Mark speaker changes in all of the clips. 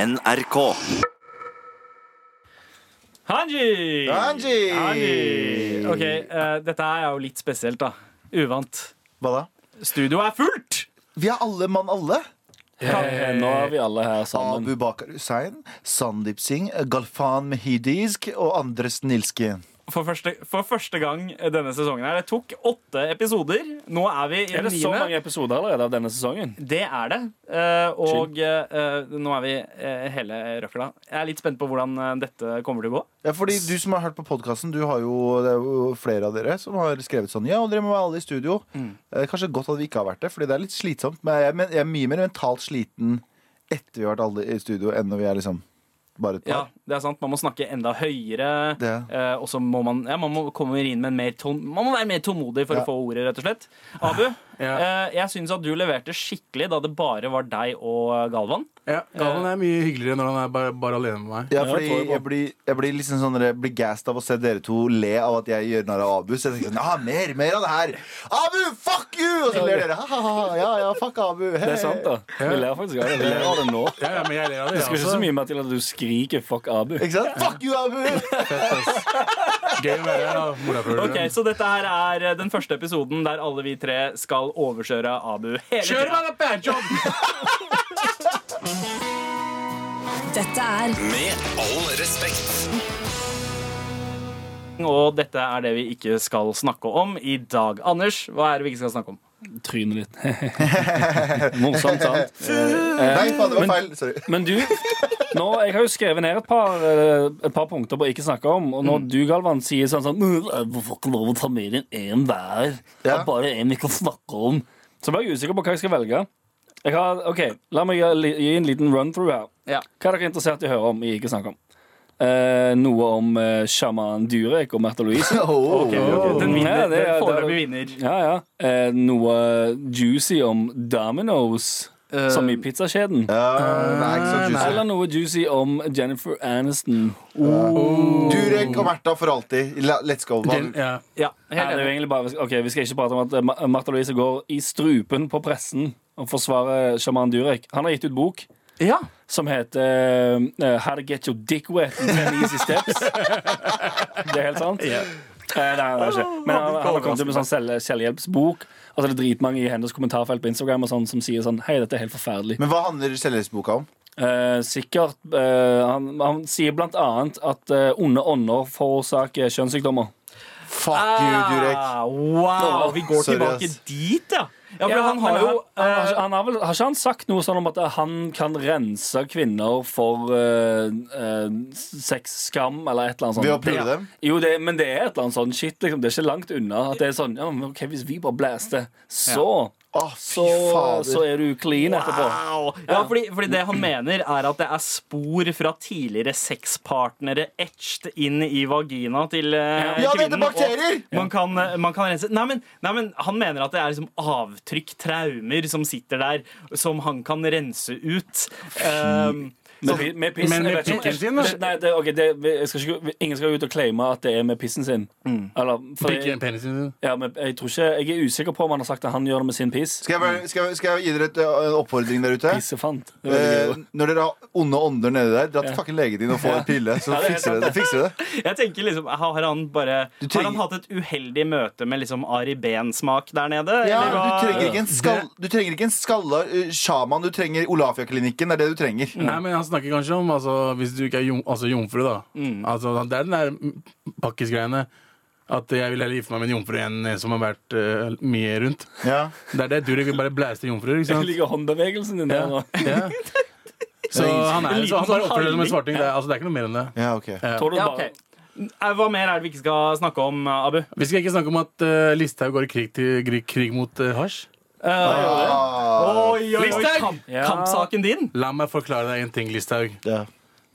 Speaker 1: NRK.
Speaker 2: Hanji!
Speaker 3: Hanji!
Speaker 2: Hanji! Ok, eh, dette er jo litt spesielt, da. Uvant.
Speaker 3: Hva da?
Speaker 2: Studio er fullt!
Speaker 3: Vi er alle mann alle.
Speaker 4: Eh, Nå er vi alle her sammen.
Speaker 3: Abu Bakar Hussein, Sandeep Singh, Galfan Mehidisk og Andres Nilske.
Speaker 2: For første, for første gang denne sesongen her. Det tok åtte episoder. Nå er vi i den
Speaker 4: Er det så
Speaker 2: niende.
Speaker 4: mange episoder allerede av denne sesongen?
Speaker 2: Det er det. Eh, og eh, nå er vi eh, hele røkla. Jeg er litt spent på hvordan eh, dette kommer til å gå.
Speaker 3: Ja, fordi Du som har hørt på podkasten, det er jo flere av dere som har skrevet sånn Ja, og dere må være alle i studio. Eh, Kanskje godt at vi ikke har vært det, Fordi det er litt slitsomt. Men jeg, men jeg er mye mer mentalt sliten etter vi har vært alle i studio, enn når vi er liksom bare et
Speaker 2: Ja,
Speaker 3: par.
Speaker 2: det er sant. Man må snakke enda høyere.
Speaker 3: Det.
Speaker 2: Eh, og så må man, ja, man må komme inn med en mer tål, Man må være mer tålmodig for
Speaker 3: Ja.
Speaker 2: å få ordet, rett og slett. Abu,
Speaker 5: Ja.
Speaker 2: eh, jeg syns at du leverte skikkelig da det bare var deg og Galvan.
Speaker 5: Ja, Galvan er mye hyggeligere når han er bare, bare alene med meg.
Speaker 3: Ja,
Speaker 4: Ja,
Speaker 3: fordi
Speaker 4: det tror jeg på.
Speaker 3: jeg blir, jeg blir liksom sånn Jeg blir gassed av å se dere to le av at jeg gjør narr av Abu. Så jeg tenker sånn, ja, mer, mer av det her Abu, fuck you! Og så ler dere. Ha, ha, ha, ja, ja, fuck Abu.
Speaker 4: Det er sant, da. Vi ler faktisk av det. Vi ler av det nå.
Speaker 5: Ja, ja, men jeg ler av det. altså.
Speaker 4: Det skal ikke så mye mer til at du skriker 'fuck Abu'.
Speaker 3: Ikke sant? Fuck you, Abu!
Speaker 5: Gøy å være her, da. Morapuler.
Speaker 2: Ok, Så dette her er eh, den første episoden der alle vi tre skal overkjøre Abu hele
Speaker 5: Kjør
Speaker 2: tiden.
Speaker 5: meg, da, badjob!
Speaker 6: Dette er
Speaker 1: Med all respekt.
Speaker 2: Og dette er det vi ikke skal snakke om i dag. Anders, hva er det vi ikke skal snakke om?
Speaker 4: Trynet ditt. Morsomt, sant?
Speaker 3: Nei, faen, det
Speaker 4: men-
Speaker 3: var feil. Sorry.
Speaker 4: Men du, nå, jeg har jo skrevet ned et par, eh, et par punkter på ikke snakke om, og når du, Galvan, sier sånn sånn «Øh, Jeg får ikke lov å ta med inn én hver. Det
Speaker 3: Ja.
Speaker 4: er bare én vi kan snakke om. Så ble jeg usikker på hva jeg skal velge. Jeg har, ok, La meg gi gi en liten run-through her.
Speaker 2: Ja.
Speaker 4: Hva er dere interessert i å høre om i Ikke snakke om? Eh, noe om eh, sjaman Durek og Märtha Louise.
Speaker 3: Oh.
Speaker 2: Den vinner.
Speaker 4: Ja, det er-
Speaker 2: den
Speaker 4: det
Speaker 2: foreløpig
Speaker 4: er-
Speaker 2: vinner.
Speaker 4: Ja, ja. Eh, noe juicy om Dominoes,
Speaker 2: Eh,
Speaker 4: som i pizzakjeden.
Speaker 3: Ja, nei, ikke så juicy.
Speaker 4: Eller noe juicy om Jennifer Aniston.
Speaker 3: Durek og Märtha for alltid. La- Let's go.
Speaker 5: Gen- Ja.
Speaker 2: Ja,
Speaker 4: Nei,
Speaker 2: helt
Speaker 4: det er jo
Speaker 2: enig.
Speaker 4: egentlig bare, ok, Vi skal ikke prate om at eh, Ma- Martha Louise går i strupen på pressen og forsvarer sjaman Durek. Han har gitt ut bok
Speaker 2: Ja.
Speaker 4: som heter eh, How to get your dick wet in 10 easy steps. Det er helt sant? Eh, nei, det er ikke. Men han, han har kommet ut med sånn selv, selvhjelpsbok. Og så er det dritmange i hennes kommentarfelt på Instagram og sånn, som sier sånn Hei, dette er helt forferdelig.
Speaker 3: Men hva handler selvhjelpsboka om?
Speaker 4: Eh, sikkert eh, han, han sier blant annet at eh, onde ånder forårsaker kjønnssykdommer.
Speaker 3: Fuck you, Durek.
Speaker 2: Ah, Wow, vi går
Speaker 3: Sorry,
Speaker 2: tilbake
Speaker 3: ass.
Speaker 2: dit, ja. ja for
Speaker 4: Ja,
Speaker 2: han har
Speaker 4: men
Speaker 2: jo
Speaker 4: han, har,
Speaker 2: eh,
Speaker 4: ikke- han har, vel, har ikke han sagt noe sånn om at han kan rense kvinner for uh, sexskam, eller et eller annet sånt?
Speaker 3: Ved å pule dem?
Speaker 4: Jo, det, men det er et eller annet sånn shit. Liksom. Det er ikke langt unna. At det er sånn, ja, men ok, Hvis vi bare blæster, så
Speaker 3: Å, fy
Speaker 4: så, så
Speaker 3: fader.
Speaker 4: er du clean etterpå.
Speaker 2: Wow. Ja, fordi, fordi det han mener er at det er spor fra tidligere sexpartnere etched inn i vagina til eh,
Speaker 3: Ja, det
Speaker 2: kvinnen.
Speaker 3: heter bakterier!
Speaker 2: og Man kan, eh, man kan rense nei men, nei, men han mener at det er liksom avtrykk, traumer, som sitter der, som han kan rense ut. Um,
Speaker 4: Med, pi- med pissen,
Speaker 5: Men med
Speaker 4: jeg vet ikke om-
Speaker 5: pikken sin, da?
Speaker 4: Det- Nei, det, ok, det, jeg skal ikke, ingen skal ut og claime at det er med pissen sin. Eller, for
Speaker 5: Pikke
Speaker 4: jeg,
Speaker 5: penisen din.
Speaker 4: ja, men jeg, tror ikke, jeg er usikker på om han har sagt at han gjør det med sin piss.
Speaker 3: Skal jeg, bare- skal, jeg, skal jeg gi dere et, ø, en oppfordring der ute?
Speaker 4: Pissefant. Det er veldig
Speaker 3: Eh,
Speaker 4: gøy.
Speaker 3: når dere har onde ånder nede der, dra til fucking legen din og få en pille. Så
Speaker 4: Ja, det er
Speaker 3: fikser dere det. Fikser dere det.
Speaker 2: jeg tenker liksom, Har han bare
Speaker 3: Du
Speaker 2: Har han
Speaker 3: trenger-
Speaker 2: hatt et uheldig møte med liksom Ari Behn-smak der nede?
Speaker 3: Ja,
Speaker 2: eller hva?
Speaker 3: du, trenger ikke en skall, du trenger ikke en skalla ø, sjaman. Du trenger Olafia-klinikken. Det er det du trenger.
Speaker 5: Nei, men Han snakker kanskje om altså, hvis du ikke er jom, altså, jomfru, da.
Speaker 4: Mm.
Speaker 5: Altså, det er den der mm, pakkisgreiene. At jeg vil heller gifte meg med en jomfru enn en som har vært eh, mye rundt.
Speaker 3: Ja.
Speaker 5: Det er det Durek vil bare blæste jomfruer. ikke
Speaker 4: Jeg
Speaker 5: sant?
Speaker 4: liker håndbevegelsen din der nå.
Speaker 5: Eh, Ja. Så han, er, så han bare oppfører seg som en svarting. Det er, altså, det er ikke noe mer enn det.
Speaker 3: Ja, ok
Speaker 4: Tror du
Speaker 2: Ja,
Speaker 4: bare,
Speaker 2: ok. Eh, Hva mer er det vi ikke skal snakke om, eh, Abu?
Speaker 5: Vi skal ikke snakke om at eh, Listhaug går i krig, til, krig, krig mot uh, hasj.
Speaker 3: Ah,
Speaker 2: Oi, oi, oi, kamp,
Speaker 4: Ja.
Speaker 2: kampsaken din?
Speaker 5: La meg forklare deg en ting, Listhaug.
Speaker 3: ja.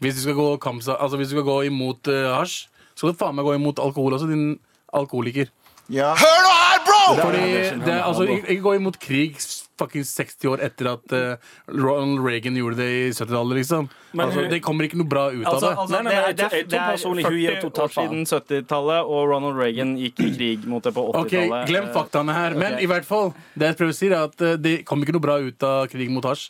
Speaker 5: Hvis du skal gå, kamsa, altså, hvis du skal gå imot uh, hasj, så skal du faen meg gå imot alkohol også, din alkoholiker.
Speaker 3: Ja. Hør nå her, bro!
Speaker 5: Fordi
Speaker 4: det skjønner
Speaker 5: det,
Speaker 4: jeg.
Speaker 5: altså, ikke ikke gå imot krig s- fucking 60 år etter at eh, Ronald Reagan gjorde det i 70-tallet, liksom.
Speaker 4: Men
Speaker 5: altså,
Speaker 4: hun-
Speaker 5: det kommer ikke noe bra ut
Speaker 2: Altså,
Speaker 5: av det.
Speaker 2: altså,
Speaker 4: Nei, nei, men jeg tror- jeg tror personlig hun gir totalt
Speaker 2: år siden 70-tallet, og Ronald Reagan gikk i krig mot det på
Speaker 5: Ok,
Speaker 2: 80-tallet.
Speaker 5: Glem eh, faktaene her. Men i hvert fall, det jeg prøver å si, er at eh, det kommer ikke noe bra ut av krig mot hasj.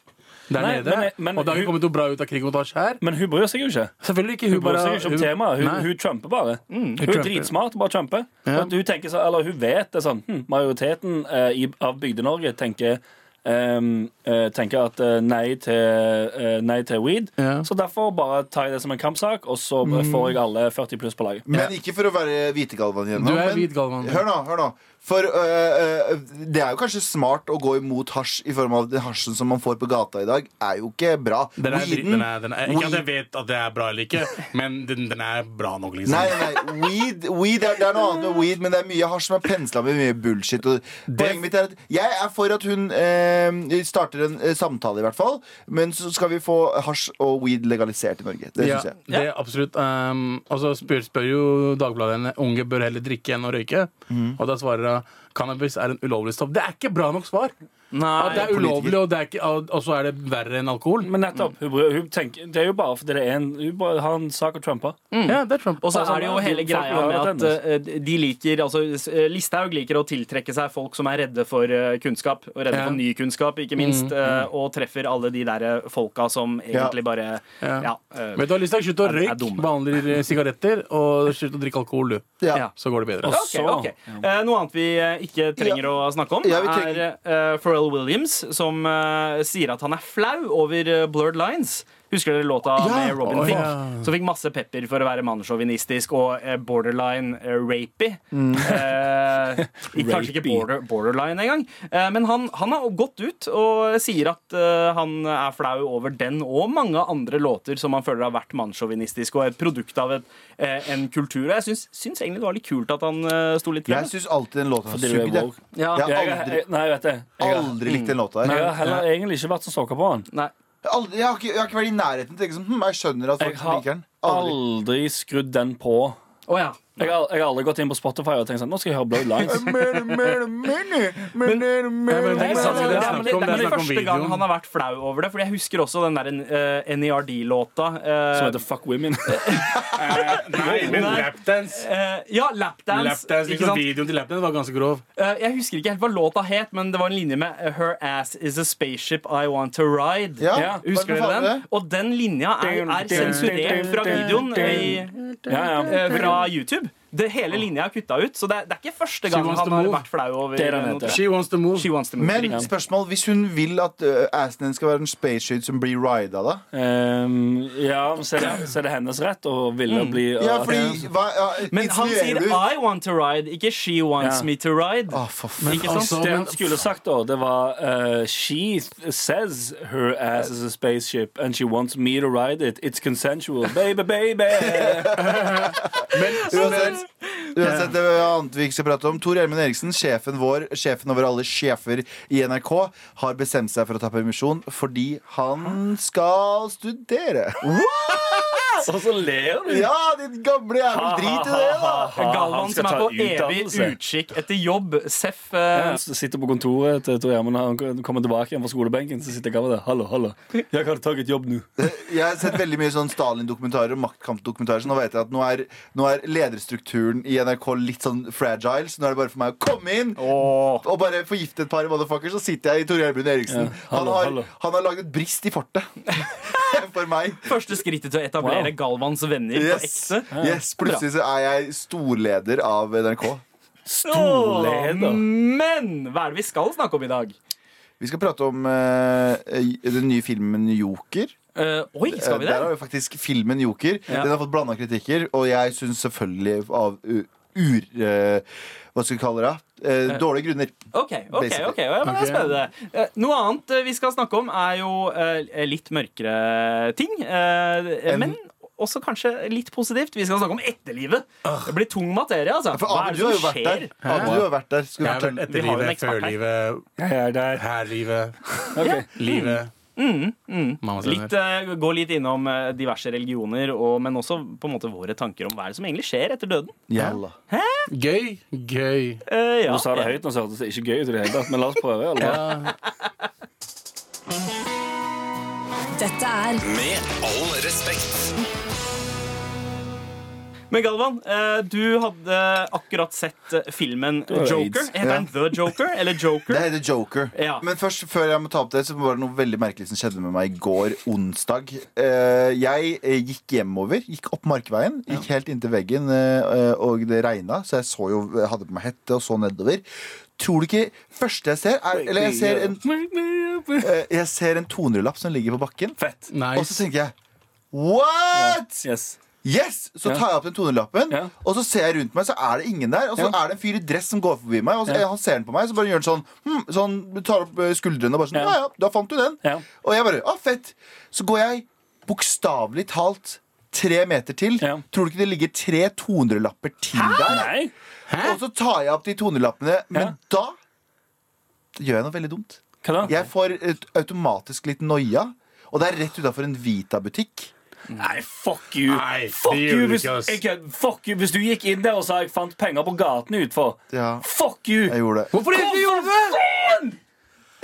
Speaker 5: der
Speaker 4: Nei,
Speaker 5: nede.
Speaker 4: men- men
Speaker 5: og da har vi
Speaker 4: hun-
Speaker 5: kommet noe bra ut av Krigsmontasje her.
Speaker 4: Men hun bryr seg jo ikke.
Speaker 5: Selvfølgelig ikke.
Speaker 4: Hun bryr seg jo ikke om temaet. Hun,
Speaker 5: Nei.
Speaker 4: hun trumper bare. Hun er
Speaker 5: trumper.
Speaker 4: dritsmart og bare trumper.
Speaker 5: Ja.
Speaker 4: Og hun, tenker så, eller hun vet det sånn hm, Majoriteten eh, i, av Bygde-Norge tenker ehm, eh, tenker at eh, nei, til, eh, nei til weed.
Speaker 5: Ja.
Speaker 4: Så derfor bare tar jeg det som en kampsak, og så får jeg alle 40 pluss på laget.
Speaker 3: Men ikke for å være hvitegalvan igjen.
Speaker 5: Du er
Speaker 3: men-
Speaker 5: hvit galvan.
Speaker 3: Hør nå, hør nå. For øh, øh, det er jo kanskje smart å gå imot hasj i form av den hasjen som man får på gata i dag, er jo ikke bra.
Speaker 5: Den er, dritt-
Speaker 3: Weeden-
Speaker 5: den er, den er, ikke at jeg
Speaker 3: weed-
Speaker 5: vet at det er bra eller ikke, men den, den er bra nok, liksom.
Speaker 3: Nei, nei, nei. Weed, weed er, det er noe annet med weed, men det er mye hasj som er pensla med mye bullshit. Og poenget mitt er at jeg er for at hun eh, starter en eh, samtale, i hvert fall. Men så skal vi få hasj og weed legalisert i Norge. Det
Speaker 5: ja,
Speaker 3: syns jeg.
Speaker 5: det er absolutt. Um, og så spør, spør jo Dagbladet henne unge bør heller drikke enn å røyke. Og da svarer hun cannabis er en ulovlig stoff. Det er ikke bra nok svar!
Speaker 2: Eh,
Speaker 5: At det er ulovlig, og, det er ikke, og, og så er det verre enn alkohol.
Speaker 4: Men nettopp. Hun, bryr- hun tenker, det er jo bare fordi det er en Hun bare har en sak å trumpe.
Speaker 2: Mm,
Speaker 5: Ja, det er Trump.
Speaker 2: Og så
Speaker 4: Altså,
Speaker 2: er det jo
Speaker 4: man-
Speaker 2: hele
Speaker 4: folk
Speaker 2: greia
Speaker 4: vil ha
Speaker 2: med
Speaker 4: det
Speaker 2: at eh, de liker altså s- eh, Listhaug liker å tiltrekke seg folk som er redde for eh, kunnskap, og redde
Speaker 5: Ja.
Speaker 2: for ny kunnskap, ikke minst, eh, og treffer alle de der eh, folka som egentlig bare
Speaker 5: Ja.
Speaker 2: Ja. eh,
Speaker 5: Vet du, hva, Listhaug, slutt å
Speaker 2: Er- er
Speaker 5: røyke,
Speaker 2: dumme.
Speaker 5: behandler eh, sigaretter, og slutt å drikke alkohol, du.
Speaker 3: Ja.
Speaker 2: Ja.
Speaker 5: Så går det bedre.
Speaker 2: Ok, ok. Eh, noe annet vi eh, ikke trenger å snakke om,
Speaker 3: Ja, vi
Speaker 2: er
Speaker 3: trenger-
Speaker 2: eh, Pharrell Williams, som eh, sier at han er flau over eh, Blurred Lines. Husker dere låta med Robin
Speaker 5: Å,
Speaker 2: Thicke?
Speaker 5: ja.
Speaker 2: Som fikk masse pepper for å være mannssjåvinistisk og eh, borderline eh, rapey. Eh, ikke- kanskje ikke
Speaker 4: Rapey.
Speaker 2: border, borderline engang. Eh, men han, han har gått ut og sier at eh, han er flau over den og mange andre låter som han føler har vært mannssjåvinistisk og er et produkt av et, eh, en kultur. Og jeg syns, syns egentlig det var litt kult at han eh, sto litt frem.
Speaker 3: Jeg syns alltid den låta har
Speaker 4: Fordi du er
Speaker 3: sugd. jeg.
Speaker 4: woke.
Speaker 2: Ja.
Speaker 3: Jeg
Speaker 4: Jeg,
Speaker 3: har
Speaker 4: jeg,
Speaker 3: aldri,
Speaker 4: nei, jeg vet det. Jeg, har-
Speaker 3: aldri likt den låta
Speaker 4: jeg
Speaker 3: her.
Speaker 4: har heller egentlig ikke vært så sokker på han.
Speaker 2: Nei.
Speaker 3: Aldri, jeg, har ikke, jeg har ikke vært i nærheten til å tenke sånn hm, Jeg skjønner at
Speaker 4: Jeg
Speaker 3: folk
Speaker 4: har
Speaker 3: liker den. Aldri.
Speaker 4: aldri skrudd den på.
Speaker 2: Å ja.
Speaker 4: Jeg har, jeg har aldri gått inn på Spotify og tenkt sånn Nå skal jeg høre Blurred Lines.
Speaker 5: men det
Speaker 2: Men,
Speaker 5: er
Speaker 2: men,
Speaker 5: sant, det er
Speaker 2: ja,
Speaker 5: snakk
Speaker 2: men det,
Speaker 5: om-
Speaker 2: det
Speaker 5: det er
Speaker 2: er
Speaker 5: snakk om
Speaker 2: første gang
Speaker 5: videoen.
Speaker 2: han har vært flau over det. Fordi jeg husker også den der eh, NERD-låta. eh,
Speaker 4: Som heter Fuck Women.
Speaker 5: Nei, men
Speaker 2: Nei.
Speaker 5: lapdance.
Speaker 2: eh, ja, Lapdance.
Speaker 5: Lapdance,
Speaker 2: ikke
Speaker 5: liksom
Speaker 2: sant?
Speaker 5: Videoen til lapdance var ganske grov.
Speaker 2: Eh, jeg husker ikke helt hva låta het, men det var en linje med eh, Her ass is a spaceship I want to ride.
Speaker 3: Ja,
Speaker 4: Ja,
Speaker 2: Husker
Speaker 3: hva
Speaker 2: dere
Speaker 3: faen er
Speaker 2: den? Og den linja er, er sensurert fra videoen i,
Speaker 4: Ja, ja.
Speaker 2: eh, fra YouTube. Det hele linja er kutta ut, så det er, det er ikke første
Speaker 5: She
Speaker 2: gang
Speaker 5: wants
Speaker 2: han
Speaker 5: to
Speaker 2: har
Speaker 5: move.
Speaker 2: vært flau over
Speaker 4: Det er den
Speaker 2: noe.
Speaker 4: heter.
Speaker 5: She wants to move.
Speaker 2: She wants to move.
Speaker 3: Men
Speaker 2: riktig.
Speaker 3: spørsmål, hvis hun vil at ø, assen din skal være en spaceship som blir rida, da?
Speaker 4: Um, ja så, er det, så er det hennes rett å ville bli
Speaker 3: Mm. Ja, fordi hva, ja,
Speaker 2: men han sier
Speaker 3: insinuerer du-
Speaker 2: 'I want to ride', ikke 'She wants
Speaker 4: Ja.
Speaker 2: me to ride'.
Speaker 3: Å, Ah, for faen.
Speaker 2: ikke sant?
Speaker 5: altså,
Speaker 4: Det han
Speaker 5: men-
Speaker 4: skulle sagt, da, det var eh, She th- says her ass is a spaceship and she wants me to ride it. It's consensual. Baby, baby!
Speaker 3: Uansett, uansett det er annet vi ikke skal prate om. Tor Gjermund Eriksen, sjefen vår, sjefen over alle sjefer i NRK, har bestemt seg for å ta permisjon fordi han skal studere.
Speaker 4: Og så ler du.
Speaker 3: Ja, din gamle jævel! Drit i det, da!
Speaker 4: Han
Speaker 2: Galvan
Speaker 4: skal
Speaker 2: som er
Speaker 4: ta
Speaker 2: på evig
Speaker 4: utdannelse.
Speaker 2: utkikk etter jobb. Seff. eh,
Speaker 4: Han sitter på kontoret til Tor Gjermund. Han kommer tilbake igjen fra skolebenken. Så sitter gamle der. Hallo, hallo. Jeg har tatt jobb nå.
Speaker 3: Jeg har sett veldig mye sånn Stalin-dokumentarer og maktkampdokumentarer, så nå vet jeg at nå er, nå er lederstrukturen i NRK litt sånn fragile, så nå er det bare for meg å komme inn
Speaker 2: åh.
Speaker 3: og bare forgifte et par motherfuckers, så sitter jeg i Tor Gjermund Eriksen.
Speaker 4: Ja, hallo,
Speaker 3: han,
Speaker 4: hallo.
Speaker 3: har, han har lagd et brist i fortet for meg.
Speaker 2: Første skrittet til å etablere
Speaker 4: Wow.
Speaker 2: Galvans venner på
Speaker 3: Yes.
Speaker 2: ekte.
Speaker 3: yes, Plutselig så er jeg storleder av NRK.
Speaker 4: Storleder.
Speaker 2: Åh, Men hva er det vi skal snakke om i dag?
Speaker 3: Vi skal prate om eh, den nye filmen Joker.
Speaker 2: Eh, oi, skal
Speaker 3: Eh, Der
Speaker 2: vi det?
Speaker 3: har vi faktisk filmen Joker.
Speaker 2: Ja.
Speaker 3: Den har fått blanda kritikker, og jeg syns selvfølgelig av u- ur... eh, hva skal vi kalle det? Eh, dårlige grunner.
Speaker 2: Ok, ok,
Speaker 3: Basically.
Speaker 2: ok, ja, men det er spennende. Eh, Noe annet eh, vi skal snakke om, er jo eh, litt mørkere ting. eh,
Speaker 3: En-
Speaker 2: Men også kanskje litt positivt. Vi skal snakke om etterlivet. Det blir tung materie, altså.
Speaker 3: For
Speaker 2: Hva
Speaker 3: Abu,
Speaker 2: er
Speaker 3: du har
Speaker 2: det
Speaker 3: jo
Speaker 2: som
Speaker 3: vært der.
Speaker 2: skjer?
Speaker 3: Abu, du har jo vært der. Skal
Speaker 5: Jeg
Speaker 3: du
Speaker 5: har vært
Speaker 3: fortelle?
Speaker 2: Vi har jo en
Speaker 5: etterlivet,
Speaker 2: ekspert her.
Speaker 5: førlivet,
Speaker 4: Jeg er der.
Speaker 5: herlivet,
Speaker 4: Ok.
Speaker 5: livet.
Speaker 4: Altså,
Speaker 5: Mamma sender.
Speaker 2: Litt, eh, gå litt innom eh, diverse religioner, og, men også på en måte våre tanker om hva er det som egentlig skjer etter døden.
Speaker 3: Jalla.
Speaker 5: Gøy, gøy.
Speaker 2: Eh, ja.
Speaker 4: Hun sa det høyt nå, så hørtes det ikke gøy ut i det hele tatt. Men la oss prøve. Eller?
Speaker 6: Dette er
Speaker 7: Med all respekt.
Speaker 2: Men Galvan, eh, du hadde akkurat sett eh, filmen
Speaker 4: var det
Speaker 2: Joker.
Speaker 4: AIDS.
Speaker 2: Heter den The Joker eller Joker?
Speaker 3: Det heter Joker.
Speaker 2: Ja.
Speaker 3: Men først, før jeg må ta opp det, så var det noe veldig merkelig som skjedde med meg i går, onsdag. Eh, jeg eh, gikk hjemover, gikk opp Markveien, gikk helt inntil veggen, eh, eh, og det regna, så jeg så jo, jeg hadde på meg hette og så nedover. Tror du ikke Første jeg ser, er Eller jeg ser en, eh, jeg ser en 200-lapp som ligger på bakken,
Speaker 4: Fett.
Speaker 3: og så
Speaker 5: Nice.
Speaker 3: tenker jeg What?!
Speaker 4: Yes.
Speaker 3: Yes! Så
Speaker 4: Ja.
Speaker 3: tar jeg opp den 200-lappen,
Speaker 4: Ja.
Speaker 3: og så ser jeg rundt meg, så er det ingen der. Og så
Speaker 4: Ja.
Speaker 3: er det en fyr i dress som går forbi meg, og så,
Speaker 4: Ja.
Speaker 3: han ser den på meg, så bare gjør han sånn, hm, så han tar opp eh, skuldrene og bare sånn,
Speaker 4: Ja.
Speaker 3: ja ja, da fant du den.
Speaker 4: Ja.
Speaker 3: Og jeg bare, å fett. Så går jeg bokstavelig talt tre meter til.
Speaker 4: Ja.
Speaker 3: Tror du ikke det ligger tre 200-lapper til der?
Speaker 4: Nei.
Speaker 3: Og så tar jeg opp de 200-lappene, men
Speaker 4: Ja.
Speaker 3: da gjør jeg noe veldig dumt.
Speaker 4: Hva da?
Speaker 3: Jeg får et, automatisk litt noia, og det er rett utenfor en Vita-butikk.
Speaker 4: Nei, fuck you.
Speaker 5: Nei, det
Speaker 4: fuck,
Speaker 5: gjør
Speaker 4: you
Speaker 5: du
Speaker 4: hvis,
Speaker 5: ikke, ass.
Speaker 4: ikke, fuck you hvis du gikk inn der og sa jeg fant penger på gaten utfor.
Speaker 3: Ja.
Speaker 4: Fuck you!
Speaker 3: Jeg gjorde det.
Speaker 5: Hvorfor ikke gjorde du det?